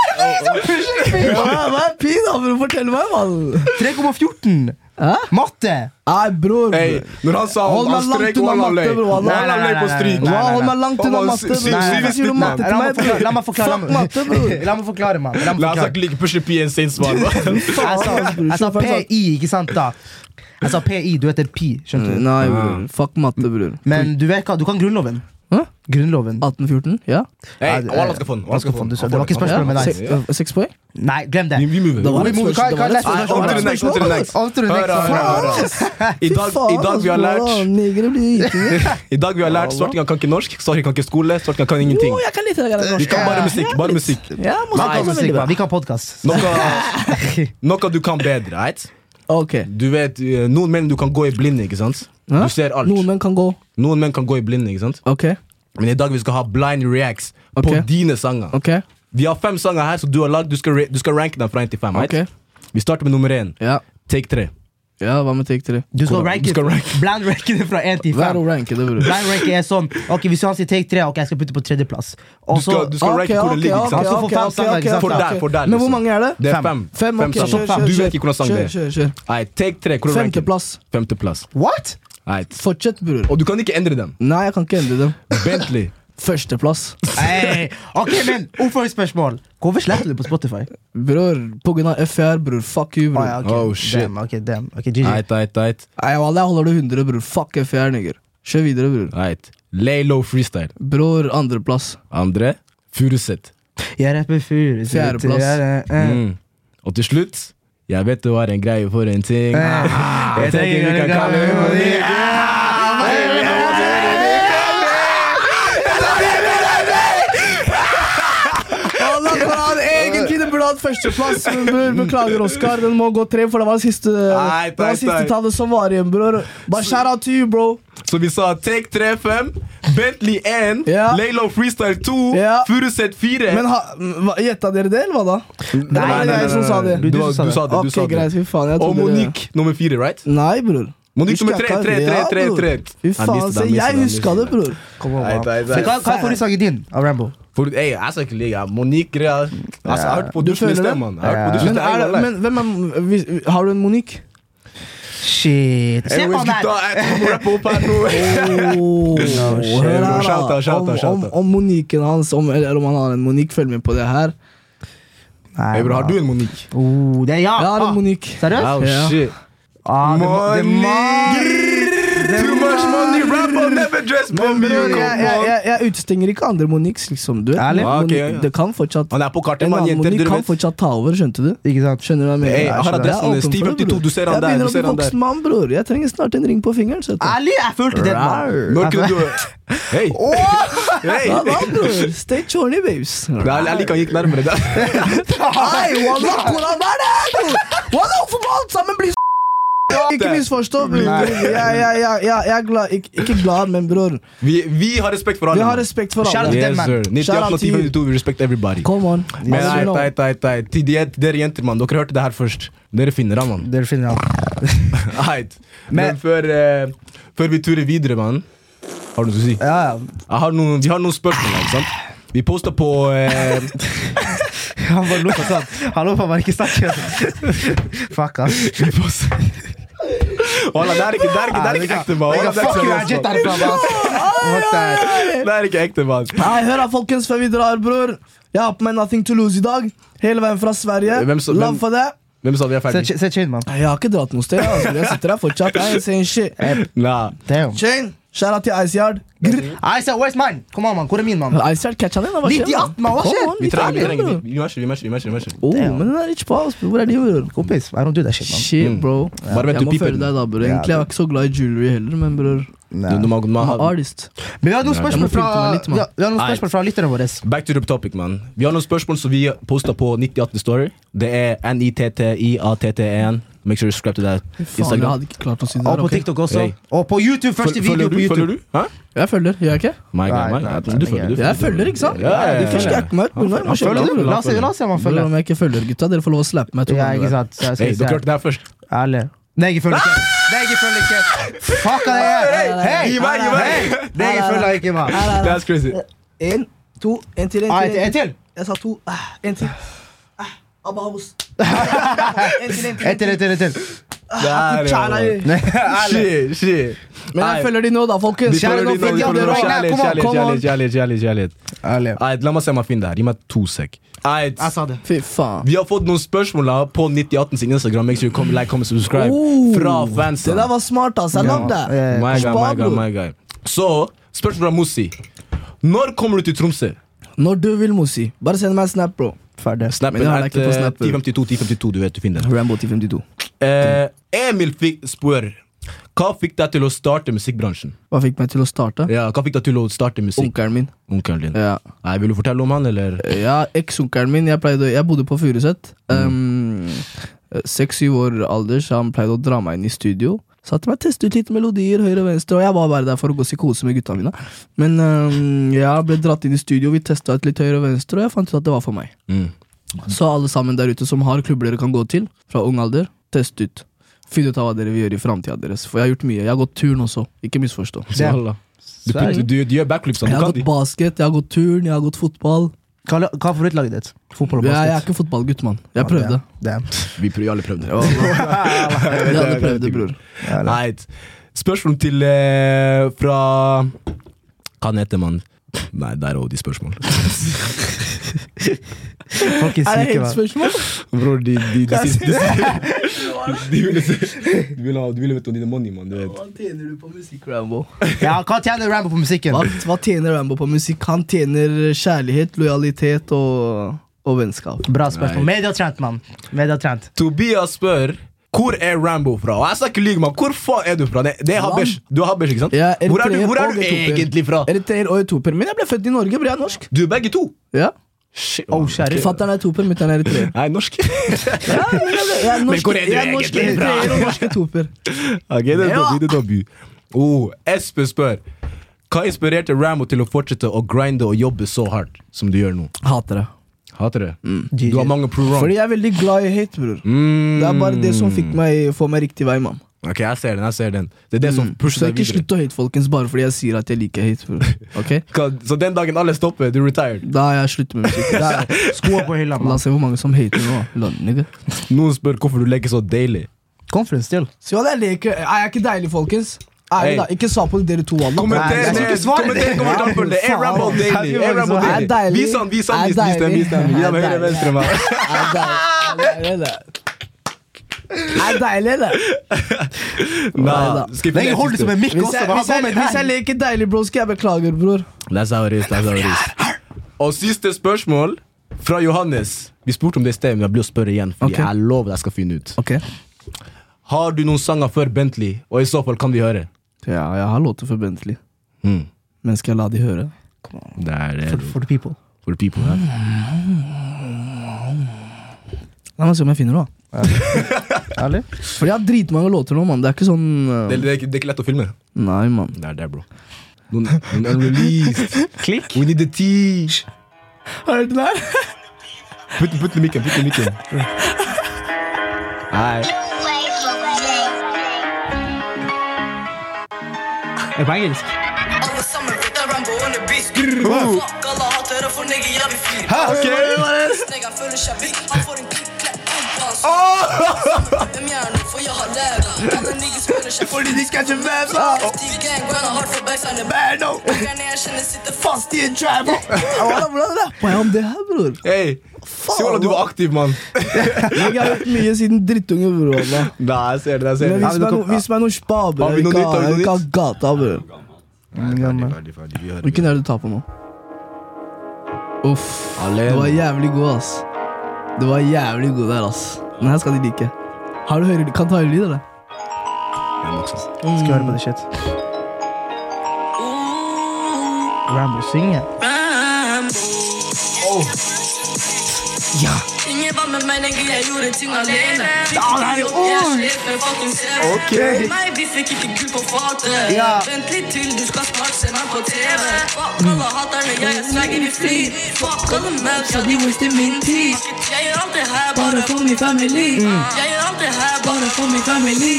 P, da, bror? Fortell meg, mann.
3,14!
Hæ?
Matte!
Nei, bror.
Hey, når han sa
Hold
han,
meg
han
langt
strek,
unna
wallah
matte,
lei.
bro. wallah.
Nei,
Wallah
nei,
lei på
nei, nei,
strid.
nei,
Wow, Hold meg langt unna
Nei, nei,
matte.
nei.
bror.
Nei,
Hvorfor sier du
nei,
matte
La
til
meg
meg,
forklare, la meg
bror?
forklare, la
Fuck
meg-
matte, bror.
(laughs) La meg forklare, mann. La meg
La oss
forklare.
ikke ligge pushe P i en
(laughs)
sen svar.
Jeg
bro.
sa, jeg sa
Slapp av, slapp av.
PI, ikke sant, da? Jeg sa PI, du heter Pi, skjønte du?
Mm, Nei, bror. Fuck matte, bror.
Men du vet hva, du kan Grunnloven.
Hæ?
Grunnloven.
Ah. 1814? Ja.
Hey,
Nei,
Wallah skal få den. Wallah skal få den.
Du sa- Det var ikke
ja.
spørsmålet med
Seks,
deg.
eh, seks poeng?
Nei, glem det.
Vi vi mover.
Det var
Vi
et
må-
spørsmål,
kan- kan
det
jeg
var
Nei,
et
on to the
spørsmål.
next, on to the next.
On to the
Hør,
next.
hør, hør, hør. I dag,
Fy
i dag vi har
ass,
lært
bra. Negere blir hitinger.
(laughs) I dag vi har lært svartinger kan ikke norsk, svartinger kan ikke skole, svartinger kan ingenting.
Jo, jeg kan litt høyere
Vi
norsk.
kan bare musikk. bare musikk.
Ja,
Vi kan
musikk også
musikk,
veldig bra.
mann. Vi kan podkast.
Noe, noe du kan bedre. right?
Ok.
Du vet, eh, Noen menn du kan gå i blinde, ikke sant?
Hæ?
Du ser alt.
Noen menn kan gå.
Noen menn kan gå i blinde, ikke sant?
Ok.
Men i dag vi skal ha blind reacts på
Ok.
dine sanger.
Ok.
Vi har fem sanger her, så du har lagd, du skal, ra- du skal ranke dem fra én til fem. right?
Ok.
Vi starter med nummer én.
Ja.
Take tre.
Ja, hva med take tre?
Du skal
Hvordan? Du
ranke
skal ranke.
Blind ranke det fra 1 til
Vær
5.
og ranke det, bror.
Blind ranke er sånn Ok, Hvis han sier take 3, ok, jeg skal putte på tredjeplass. Og
Du skal,
så
du skal
Ok,
ranke hvor
ok,
det ligger. ikke
ok,
sant?
Altså, for
ok,
fem
ok,
sanger, ikke
ok,
sant?
ok,
For der,
ok.
for der,
Men hvor
liksom.
mange er det?
Det er
Fem.
fem.
Fem, ok,
sanger.
kjør, kjør,
Du vet
kjør.
ikke hvordan sang det
Kjør, kjør,
er.
kjør.
Nei, take tre. Hvor ranker du?
Femteplass.
Femteplass.
What?!
Nei.
Fortsett, bror.
Og du kan ikke endre dem.
Nei, jeg kan ikke endre dem. (laughs)
Bentley.
Førsteplass.
Hey. Ok, men Ordførerspørsmål. Hvorfor sletter du på Spotify?
Bror, på grunn av FR, bror. Fuck you,
Ah,
bror.
ja, ok,
Oh, shit.
Damn, ok, damn. Ok, GG.
Eit, eit, eit.
Nei, wallah, jeg holder det 100, bror. Fuck FR, nigger. Kjør videre, bror.
Eit. Lay low freestyle.
Bror, andreplass.
Andre Furuset.
Jeg rapper fyr. så
Fjerdeplass.
jeg er, eh,
Mm. Og til slutt Jeg vet du har en greie for en
eh.
ting. Jeg tenker vi kan kalle henne det.
Wallah, bror, han- Egentlig det burde hatt førsteplass, men bror, beklager, Oskar. Den må gå tre, for det var siste
Nei,
Det var
nei, nei.
siste tallet som var igjen, bror. Bare shout out to you, bro.
Så vi sa Take 3-5, Bentley 1,
(laughs) Ja.
Lay low freestyle 2,
Ja.
Furuset 4.
Men ha- hva- gjetta dere det, eller hva da?
Nei,
Eller var det
nei,
jeg
nei,
som
nei,
sa
nei.
det?
Du, var- du sa det. Du
Ok,
sa
greit,
det.
fy faen. Jeg
Og
trodde det-
Monique nummer 4, right?
Nei, bror.
Monique nummer 3,
Husker jeg
3,
ikke?
3,
Ja,
3,
bror.
3.
Fy faen, se, jeg huska det, bror.
Kom on,
Nei,
man.
nei, nei.
Men Hva hva er forrige din av Rambo?
For, ey, jeg skal ikke ligge. Monique-greia altså, Jeg hørte på
Du
dusjen i
føler
sted,
det?
mann. Jeg hørte på
Ja.
dusjen i
Men,
sted,
er,
jeg var
det- men hvem er hvis- Har du en
(laughs)
Monique?
Shit. Se på
Anyways,
han
gutta,
der!
jeg tror vi rapper opp
(laughs)
her nå.
Oh,
shit.
hør her,
Shout out,
da.
shout out, shout
Om, om,
out.
om Moniquen hans, om, eller om han har en Monique, følg med på det her.
Nei,
Hey, bro, har
man.
du en Monique?
Oh, det er ja!
Jeg har
Ah,
en Monique.
Seriøst?
Oh,
Ja.
shit.
Ah, det må- det må-
Too much money, rap on never dress
Men
bomb you,
bror, jeg, jeg, jeg, jeg utestenger ikke andre Moniques, liksom. Du vet,
Ærlig?
Monique-
Ok, ja, ja.
Det kan fortsatt
Han er på kartet,
En
mann.
annen
Jenter,
Monique
dere
kan
vet.
fortsatt ta over, skjønte du?
Ikke sant?
Skjønner du hva jeg mener?
Hey, jeg har
Jeg er
adressen din.
åpen for
Steven
det, bror.
82, du ser han der,
Jeg
du ser
begynner å
han
bli
der.
voksen mann, bror. Jeg trenger snart en ring på fingeren. Så hva
Ærlig, jeg følte den. mann.
Når kunne du
(laughs)
Hei! Hei!
da, bror? Stay chorny, babes.
Nei, Jeg liker han gikk nærmere
(laughs)
der.
Hei, wallah, hvordan er det? bror? Wallah, hvorfor må alt sammen bli så Ikke misforstå, bror. Jeg, jeg, jeg, jeg, jeg er glad Ikke, ikke glad, men bror.
Vi, vi har respekt for alle.
Vi har
mann.
respekt for
Shout out
alle.
til-
Yes, sir.
Shout
98
out
og
til you.
1052, we respect everybody.
Come on.
Men
As
nei,
you know.
nei, nei, nei. Til de- til dere jenter, mann. Dere hørte det her først. Dere finner han, mann. (laughs)
Dere finner han.
Heit. Men, før, eh, før vi turer videre, mann Har du noe å si?
Ja, ja.
Jeg har noen, vi har noen spørsmål. ikke sant? Vi poster på eh, (laughs)
Han bare lot som sånn. Han lot bare ikke snakke. Fuck, ass.
Vi poster Wallah, Det er ikke det er ikke, det er ikke ekte, mann. Wallah, det
Fuck
er ikke
you,
seriøst,
Ajit, derifra, ass. Fuck that.
mann. Det er ikke ekte, mann.
Nei, hør da, folkens, før vi drar, bror. Jeg har på meg Nothing to lose i dag. Hele veien fra Sverige.
Hvem så-
Love
hvem-
for det.
Hvem sa vi er
Se
ferdig?
Ch- Se Chain, mann.
Jeg har ikke dratt noe sted. Altså. Jeg sitter her fortsatt. Jeg ser en shit.
Nei.
Damn.
Shane, skjæra til Iceyard.
Nei, se, where's mine? Kom an, mann. Hvor er min, mann?
Iceyard catcha den. da, Hva skjer?
98, mann, hva
Kom
skjer?
on,
Vi trenger, vi
tar den,
trenger,
bror.
vi, vi matcher, vi matcher. vi matcher, vi matcher.
Oh, men den er ikke på oss, bror. Hvor er de, bror?
Kompis, I don't do that shit, mann.
Shit, bro.
Mm. Bare vent
Jeg
til
må
pipen.
følge deg da, bror. Egentlig jeg var ikke så glad i jewelry heller, men bror.
Du, du må- du må
I'm an
ha-
artist.
Men vi har noen spørsmål
jeg må
fra,
pynte meg litt, mann.
ja, vi har noen
Nei.
spørsmål fra lytterne våre.
Back to the topic, man. Vi har noen spørsmål som vi poster på 9018 Story. Det er NITTIATT1. E Make sure you subscribe to that.
Faen, jeg
Instagram.
hadde ikke klart å si det
Og
der.
på
ok?
TikTok også.
Hey.
Og på YouTube. Første
Føl-
video på YouTube.
Følger du? Hæ?
Jeg følger, gjør jeg ikke?
My God, my
Nei,
God.
nei, nei,
Du følger, du
Jeg følger, ikke sant?
Ja, ja, ja,
Du først skal jeg
ja.
ikke meg ut, bror. Jeg må
Han
skjønne
følger,
det, bror.
du?
La oss se, la oss se om han
Bror,
følger.
Om jeg ikke følger gutta, dere får lov å slappe meg. to
Ja,
ganger.
ikke sant. Så jeg skal
Hey,
se.
dere hørte det her først.
Ærlig. Nei, jeg følger ikke. Nei, jeg følger ikke. Fuck av
Hei,
deg.
hei,
Hei!
Gi meg, gi meg.
Hei! Nei, jeg følger ikke, mann.
Nei, nei, nei.
That's crazy.
En, to, en til, en
Ah,
til.
En til, en til.
Jeg sa to. (laughs) Ah, En til. Ah, Abba Habos. En til, en til.
En til, en til, en til.
Der, ja. eh, (laughs) Shit, shit.
Men jeg
Nei.
følger de nå, da, folkens.
Vi følger
Kjære
de nå, vi
nå,
følger de nå.
dere også.
Kjærlighet,
Kom on,
kjærlighet,
kom on.
kjærlighet, kjærlighet, kjærlighet, kjærlighet.
Ærlig.
Ait, la meg se om jeg finner det her. Gi meg to sek. Ait,
Jeg sa det.
Fy faen.
Vi har fått noen spørsmål da, på 9018 sin Instagram. Make sure you come, like, come, and subscribe.
Oh,
Fra fansa.
Det der var smart, ass. Jeg love
Ja,
det.
ja,
Eh, My guy, my guy,
Spabro.
my guy. Så, spørsmål fra Mussi. Når kommer du til Tromsø?
Når du vil, Mosi. Bare send meg en snap, bro.
Ferdig.
Snappen
Men jeg har
er
deg ikke på
eh,
Snap.
1052, 1052, du vet, du finner den.
Rambo 1052.
Eh, Emil fikk spør hva fikk deg til å starte musikkbransjen?
Hva fikk meg til å starte?
Ja, hva fikk deg til å starte musikk?
Onkelen min.
Onkelen din.
Ja, Eh,
Nei, Vil du fortelle om han, eller?
ja eksonkelen min. Jeg, pleide, jeg bodde på Furuset.
Mm.
Um, Seks-syv år alder, så han pleide å dra meg inn i studio. Satte meg og testet ut litt melodier, høyre og venstre, og jeg var bare der for å gå psykose med gutta mine. Men um, jeg ble dratt inn i studio, vi testa ut litt høyre og venstre, og jeg fant ut at det var for meg.
Mm.
Så alle sammen der ute som har klubber dere kan gå til, fra ung alder, test ut. Finn ut av hva dere vil gjøre i framtida deres. For jeg har gjort mye. Jeg har gått turn også. Ikke misforstå.
Det-
Wallah. Du, putter- du, du gjør backflips, han.
Jeg
Du
har
kan
gått
de.
basket, jeg har gått turn, jeg har gått fotball.
Hva hva er favorittlaget ditt? Fotball og
Jeg, jeg er
basket?
ikke fotballgutt, mann. Jeg prøvde.
Damn.
Vi prøver, alle prøvde.
Jeg hadde prøvd det, bror.
Damn.
Nei, spørsmål til eh, fra Hva han heter man? Nei, der er også de spørsmål.
Folk er
Er det
syke,
helt
mann.
spørsmål?
Bror, de, (laughs) de, de, de, de, de ville Du ville ha- du ville vite om dine money, mann. Du vet.
Hva tjener du på musikk, Rambo?
Ja, hva tjener Rambo på musikken?
Hva, hva tjener Rambo på musikk? Han tjener kjærlighet, lojalitet og, og vennskap.
Bra spørsmål.
Nei.
Mediatrent, mann. Mediatrent.
Tobias spør hvor er Rambo fra? Og jeg skal ikke lyve, mann. Hvor faen er du fra? Det, det er Habesh. Du er Habesh, ikke sant?
Jeg er
hvor er du,
eritreer
hvor er
og
du
etiopier.
egentlig fra?
Eritreer og etioper. Men jeg ble født i Norge, bror. Jeg er norsk.
Du er begge to.
Ja.
Shit,
Oh,
mann.
kjære.
Fatter'n er etioper, mutter'n er
(laughs)
eritreer.
Nei, norsk.
Ja, men jeg ble- jeg er norsk-
hvor er du
jeg er norsk
egentlig fra?
eritreer og norsk etioper.
Ok, det er Dobby, det er Dobby. Oh, Espen spør Hva inspirerte Rambo til å fortsette å grinde og jobbe så hardt som du gjør nå?
Hater det.
(laughs) Hater det? Du har mange
Mm. Fordi
pro-wrong.
jeg er veldig glad i hate, bror.
Mm.
Det er bare det som fikk meg, får meg riktig vei, mann.
Ok, jeg ser den. jeg ser den Det er det som
Mm.
pusher
Så
deg
ikke
videre.
slutt å hate, folkens, bare fordi jeg sier at jeg liker hate. Bror. Ok?
Hva- Så den dagen alle stopper, du er retired?
Da har jeg sluttet med musikk. Da
(laughs)
er jeg-
Skoa på hylla,
La
mann.
oss se hvor mange som hater nå. Lønn, nigga.
Noen spør hvorfor du leker så deilig.
Conference still.
Så ja, det er leker. Er jeg ikke deilig, folkens? Er jeg
Hey.
da? Ikke svar på dere to. Alle.
Kommenter
Nei, jeg skal
det!
ikke svare
Kommenter
det.
kommentar for det! Er Rambo
Faen.
deilig? Er Rambo
Jeg
er
deilig?
deilig.
Vis han, vis han,
Jeg er
vis vis den!
deilig.
vis den. Gi
Jeg er
dem høyre,
deilig.
venstre, mann.
Er jeg deilig, eller? Er jeg deilig, eller?
Nah,
da.
skal jeg
Nei,
finne
hold det som
siste?
en mikk
Hvis
også.
jeg,
hva
hvis,
går
jeg,
med
hvis jeg
den?
leker deilig, bro, skal jeg beklage, bror.
That's how it is. That's how it is. Og siste spørsmål fra Johannes. Vi spurte om det i sted, men jeg blir å spørre igjen. Fordi
Ok.
jeg lover jeg skal finne ut
Ok.
Har du noen sanger før Bentley, og i så fall kan vi høre?
Ja, jeg har låter for Bentley, men skal jeg la de høre?
Det er det.
For the people.
For the people, ja.
La meg se om jeg finner noe. da. (laughs)
Ærlig?
For jeg har dritmange låter nå, mann. Det er ikke sånn uh,
Det, det, er ikke- det er ikke lett å filme.
Nei, mann.
Det er det, bro. Noen, noen unreleased. Klikk. We need the tea.
Har du hørt den her?
Putt, putt den i mikken. Putt den i mikken. Nei.
Er det på engelsk?
Alle sammen vet det er Rambo on the beat. Fuck alle hatere, for nigga, jeg vil fly.
Ok.
Nigga føler seg big, han får en klipp, klapp, klipp på hans. Alle sammen vet Hvem jeg er nå, for jeg har lært. Alle niggas føler seg Fordi de skal ikke være fra. Steve Gang, grinder hardt for backside and back. Nigga, jeg kjenner sitter fast i en trap.
Hvordan hvordan rappa jeg om det her, bror?
Hey. Se hvordan du var aktiv, mann.
Jeg har hørt mye siden drittunge, bror. Alla.
Nei, jeg ser det. jeg
Men
ser det.
vis meg, no, vis meg noen spa, bror.
Har vi
Jeg
noe
vil
nytt, har vi noe
ikke ha
nytt?
gata, bror.
Ferdig, ferdig, ferdig. Vi hører.
Hvilken er det du tar på nå? Uff.
Alene.
Det var jævlig god, ass. Det var jævlig god der, ass. Den her skal de like. Har du høyre, kan ta høyrelyd, eller?
Skal høre på det shit. Rambo synger.
Altså, Ingen var med meg, nigga, jeg gjorde ting alene.
er jo
Jeg
ord.
slet med fucking selv.
Ok.
Meg, vi fikk ikke gull på fatet.
Ja.
Vent litt til, du skal snart se meg på TV. Fuck alle haterne, jeg er swagger i fly. Fuck alle maps, ja, de waster min tid. Jeg gjør alt det her bare for min family. Jeg gjør alt det her bare for min family.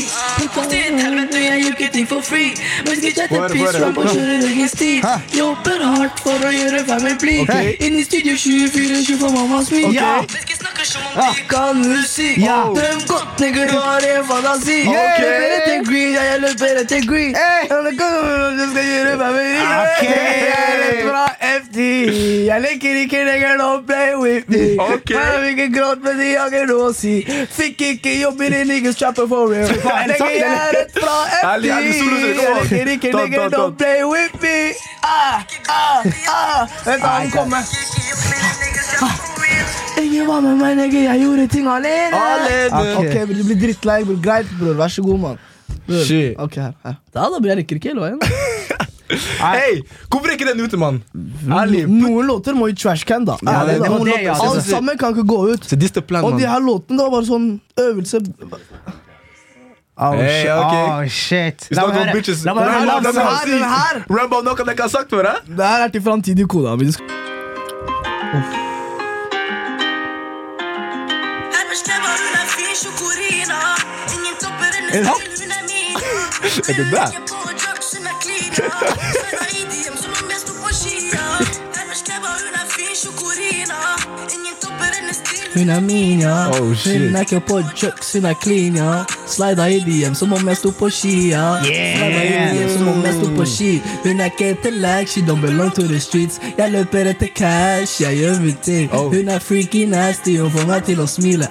Fast i et helvete, jeg gjør ikke ting for free. Men skal ikke
Få høre,
etter
få
piss,
høre.
Rambo kjører egen sti.
Hæ?
Jeg jobber hardt for å gjøre family blid.
Ok.
Inn i studio 24-7 for mammas min.
Ja.
Vi skal snakke snakker som om (laughs) de kan musikk.
Ja.
Drøm godt, nigger, du har en fantasi.
Ok.
Jeg løper etter green, ja, jeg løper etter green.
Hey. Ah,
Ja, det kan være at jeg skal gjøre meg med ring.
Ok.
Jeg er rett fra FD. Jeg liker ikke lenger, don't play with me.
Ok.
Jeg har ikke grått, men de har ikke noe å si. Fikk ikke jobb i din niggas trapper for real.
faen, er det sant,
Nigger, Jeg er rett fra FD.
Ærlig, ærlig, solo sier,
Jeg
kom on.
liker ikke
Ta, ta,
lenger,
ta.
don't play with me. Ah, ah, ah. Vent da, han kommer. Ingen var med meg, nigger. Jeg gjorde ting alene.
Ah. Ok, bror, du blir drittlei. bror. Greit, bror. Vær så god, mann. Bror,
Shit.
Ok, her, her. Da, da, bror, jeg rekker ikke hele veien.
Hei, hvorfor er ikke den ute, mann? Ærlig.
Noen låter må i trashcan, da.
Ja, det-
Ærlig,
det
da.
må det, ja.
Alle sammen kan ikke gå ut.
Så this the plan,
Og de
mann.
her låtene, det var bare sånn øvelse
Oh,
Hey,
shit.
ok.
Oh, shit.
It's
La
not
meg
for
høre.
bitches.
La meg høre.
Rambo,
La
den
meg
kan
høre.
si. Rambo, noe dere har sagt før, hæ?
Det her er til framtidig kona mi.
Her bestemmer hun er fin sjokorina. Ingen topper henne,
det sant?
selv hun er min. Er
det der?
Hun er min, ja.
Oh, shit.
Hun er ikke på chucks, hun er clean, ja. Slida i DM som om jeg sto på ski, ja. Slida i DM som om jeg sto på ski. Hun er ikke etter lag, she don't belong to the streets. Jeg løper etter cash, jeg gjør min ting.
Oh.
Hun er freaky nasty, hun får meg til å smile.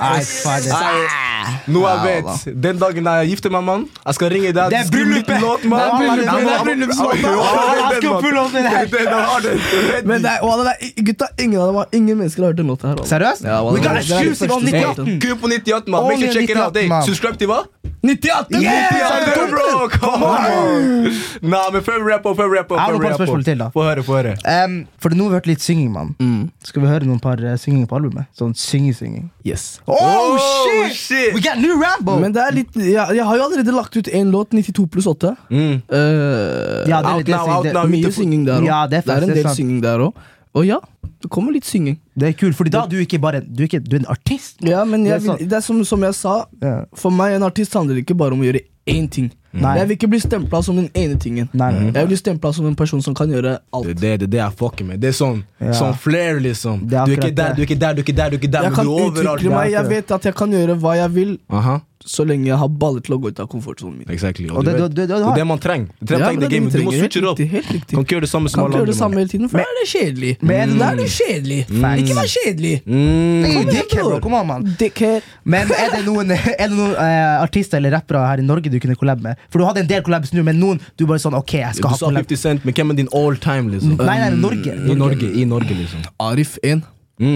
Nei, fader.
Nå jeg vet, den dagen jeg gifter meg, mann, jeg skal ringe deg.
Det er
du skal bli
bryllupet.
pilot, mann.
Det er bryllupet. Det er
Ja, mann.
bryllupslåten.
Ja, mann.
Ja, jeg skal
Den, mann.
pulle opp den her.
Den, den har den.
Men det er, wallah, det er, gutta, ingen av dem har, ingen mennesker har hørt den låten her. altså. wallah.
Seriøst?
Ja, wallah,
We got
det er den
exclusive om
første
98.
Kun på 98, mann. Make
Only
sure check it out.
98,
Hey,
mann.
subscribe til hva?
98!
Yeah,
Yeah!
bro, come on! Nei, men før vi rapper, før vi rapper
Jeg har
før
noen
vi
par
rapper.
spørsmål til, da.
Få høre, få høre.
Em, Um, for nå har vi hørt litt synging, mann. Skal vi høre noen par eh, synginger på albumet? Sånn synge-synging.
Yes.
Oh,
Oh,
shit!
shit!
We got new Rambo!
Men det er litt, jeg, jeg har jo allerede lagt ut én låt, 92 pluss 8.
Mm.
Eh,
Ja, det,
Out
er litt- det,
now,
er-
out
det,
now.
det,
mye
mye
for-
synging der òg.
Ja, det er
det
faktisk-
er en
det er
del
sant.
synging der òg. Og ja, det kommer litt synging.
er kult, Fordi da er du ikke bare Du er, ikke, du er en artist.
Ja, men
Det er
jeg
sånn-
vil,
sant.
det er som, som jeg sa,
Ja. Mm.
for meg en artist handler ikke bare om å gjøre én ting.
Nei.
Jeg vil ikke bli stempla som den ene tingen.
Nei, nei, nei.
Jeg vil bli stempla som en person som kan gjøre alt.
Det er det, det, er det jeg fucker med. Det er sånn,
Ja.
sånn flair, liksom.
Det er
Du er ikke
akkurat
der,
det.
du er ikke der, du er ikke der, du er ikke der
Jeg
men
kan
du er overalt.
utvikle meg,
Ja,
jeg vet at jeg kan gjøre hva jeg vil,
Aha,
så lenge jeg har baller til å gå ut av komfortsonen min.
exactly. Og,
Og
du
det-
vet,
det- det- det
det
har-
er det man trenger. Du trenger
Ja,
trenger
men
det gamet. Du må
trenger-
switche det opp.
Helt riktig. Helt riktig.
Kan ikke gjøre det samme som
Kan ikke
alle
gjøre det
andre.
samme
mann.
hele tiden, for da er det kjedelig.
Men-
Da er det kjedelig. Ikke vær kjedelig.
Mm.
Kom
Hey,
igjen,
dickhead, bro.
bror.
Kom an, mann.
Dickhead.
Men er det noen, (laughs) er det noen eh, artister eller rappere her i Norge du kunne collab med? For du hadde en del collabs nå, men noen du bare sånn Ok, jeg
Du
skal ha
sa
collab.
50 Cent, men hvem er din all time, liksom?
Nei, nei, Norge.
I Norge, i Norge, liksom.
Arif 1.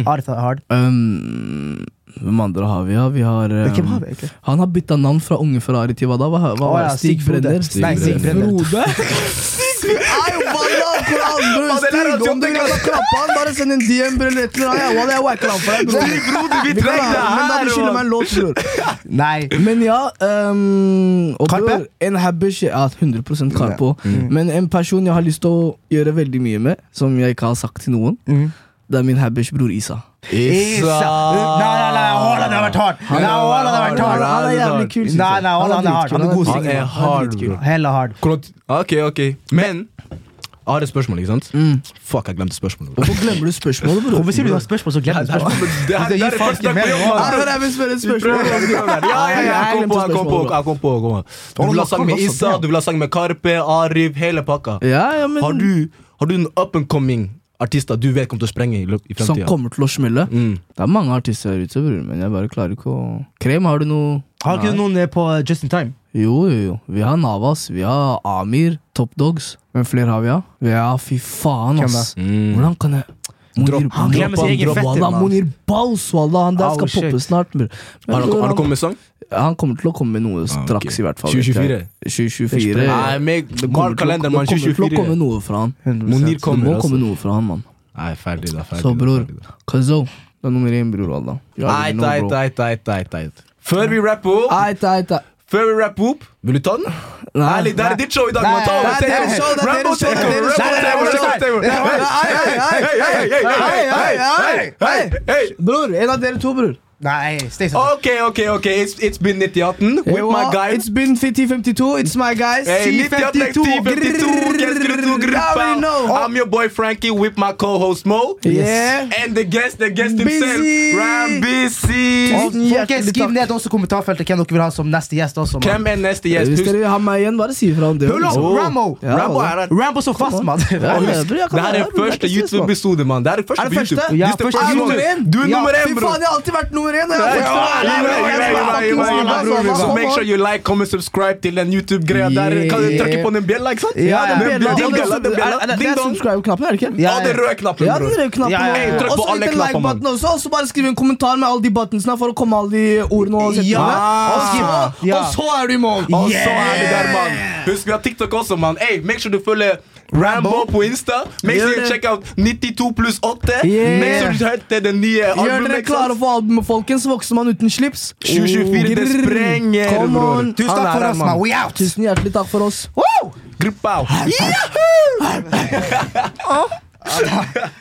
Artha Hard.
Um, hvem andre har vi? Ja, vi har, um,
Hvem har vi egentlig?
Han har bytta navn fra Unge Ferrari til hva da? Hva, hva,
Å,
var det?
ja,
Stig
Stig Frode.
Brenner?
Stig Nei, Stig Brenner.
Frode? Ay, wallah, koran, bror,
det der
Stig,
er
om du
jobbing,
greier å klappe han, bare send en DM eller et eller annet. Jeg- wallah, jeg wacker han for deg, bror. Vi kan
trenger
ha-
det
Men da
her,
du skylder
mann.
meg en låt, bror.
Nei.
Men ja um, og
Karpe?
bror, En habers Ja, 100 Karpo.
Mm.
Men en person jeg har lyst til å gjøre veldig mye med, som jeg ikke har sagt til noen,
Mm.
det er min habers bror Isa.
Isa. Nei, nei, nei, Haaland har vært hard. Nei, Haaland har
Han
vært hard.
er- han er jævlig kul. synes jeg.
Nei, nei, Haaland er hard. Han er god
Han
singer.
er hard, bro.
Hella hard.
Hvordan- Ok, ok. Men jeg har et spørsmål, ikke sant? Fuck, jeg glemte spørsmålet.
Hvorfor glemmer du spørsmålet, bror?
Hvorfor sier du du har spørsmål, så glemmer du spørsmål?
Det her-
Du
det her
gir
er
faen
første
ikke mer.
spørsmål.
Ja, men jeg vil spørre et spørsmål.
Ja, ja, ja, jeg kom på, jeg kom på, jeg kom på, jeg kom på. Du vil ha sang med Issa, du vil ha sang med Karpe, Arif, hele pakka.
Ja, ja, men
Har du, har du en up and coming artister du vet kommer til å sprenge i, løp- i
Som
fremtiden?
kommer til å smelle?
Mm.
Det er mange artister her ute, bror, men jeg bare klarer ikke å Krem, har du noe
Har ikke du noen eh, på Just in Time?
Jo, jo, jo. Vi har Navas, vi har Amir, Top Dogs. Hvem flere har vi, da? Vi har fy faen, ass.
Mm.
Hvordan kan jeg Monir,
Dropp han,
Monir-
glemmer sin egen
Dropp han,
fetter,
wallah,
mann.
Monir Baus, wallah. Han der
Oh,
skal
shit.
poppe snart. bror. Men
Har han,
bror,
har han
han-
kommet med sang?
Han kommer til å komme med noe
Ah, ok.
straks, i hvert fall.
2024?
2024.
Nei, meg, Mark kalender,
Det
mann.
kommer til å komme
2024.
noe fra han.
Monir
Det
kommer,
må komme
altså.
noe fra han, mann.
Nei, ferdig, da. Ferdig,
Så
da,
bror,
ferdig da.
Kazo, det er nummer én, bror. Wallah. You already
Eit,
know,
eit,
bro.
eit, eit, eit, eit. Før vi rapper opp,
Eit, eit, eit.
før vi rapper opp Vil du ta den?
Nei.
Ærlig, det er ditt show i dag, mann. Ta over,
Det er
take
deres show,
over.
det er
Rambo
deres show, det er
take over,
deres show, det er
Rambo
deres show.
take over,
Hei, hei, hei, hei, hei, hei, hei, hei, hei, hei, hei, hei. Bror, en av dere to, bror.
Nei, stay safe.
Ok, ok, ok. It's, it's been 1918 with
Yo,
my guy.
It's been 5052. It's my guys.
Hey, 1918, 52, guess who do
Grrrr.
grip
I already
out?
know.
I'm your boy Frankie with my co-host Mo.
Yeah.
And the guest, the guest himself,
Busy.
Ram BC.
Og-
Folkens,
Hjertelig
eh, Skriv
takk.
ned også i kommentarfeltet hvem dere vil ha som neste gjest. også man.
Hvem er neste gjest?
Hvis
Husk,
dere har meg igjen, bare si ifra om det.
Pull up,
liksom.
Rambo!
Ja,
Rambo
det-
er her.
Rambo så fast, mann!
Ja,
Og
ja,
husk,
bro, jeg
det
kan
her
være
er
her, men
første
jeg kan ses på.
YouTube-episode, mann. Det her er første
Er det
på YouTube.
første?
This
Ja,
the
første
first
Er du
one.
nummer én?
Du er
Ja,
nummer
Fy
én, bror.
faen, jeg har alltid vært nummer én! jeg.
Ja,
Jeg
ja,
har
ja,
alltid vært
ja,
nummer én.
ja, ja, ja,
Jeg
ja,
har
bror,
alltid
bror.
vært
Så
nummer
make
én.
sure you like, comment, subscribe til den YouTube-greia der. Kan du trykke på den bjella, ikke sant?
Ja,
Ja,
den
ja,
bjella,
ding
den-
dong,
den-
den bjella.
er det- Det
Ding
er
dong.
subscribe-knappen, er det ikke?
Ja,
Og den røde knappen,
Ja, den
bror.
røde knappen.
Ja, ja, ja.
også.
Trykk på
Også
alle
litt
knapper, mann.
like-button også, og så bare skriv en kommentar med alle de buttonsene for å komme alle de ordene og setningene.
Ja.
Og, så-
Ja.
og så er du i mål!
Og så er det der, mann. Husk, vi har TikTok også, mann. Ey, make sure du følger Rambo på Insta. Make sure
Gjør
you
det.
check out 92 pluss 8.
Yeah.
Make sure du hørte det nye
Gjør dere
albumet. ikke
klare
sant?
for albumet, folkens. Vokser man uten slips.
2024, det
Grrr.
sprenger,
Come
bror.
on.
Tusen takk
Han er
for
her,
oss,
mann.
man. We out!
Tusen hjertelig takk for oss.
Gruppe av.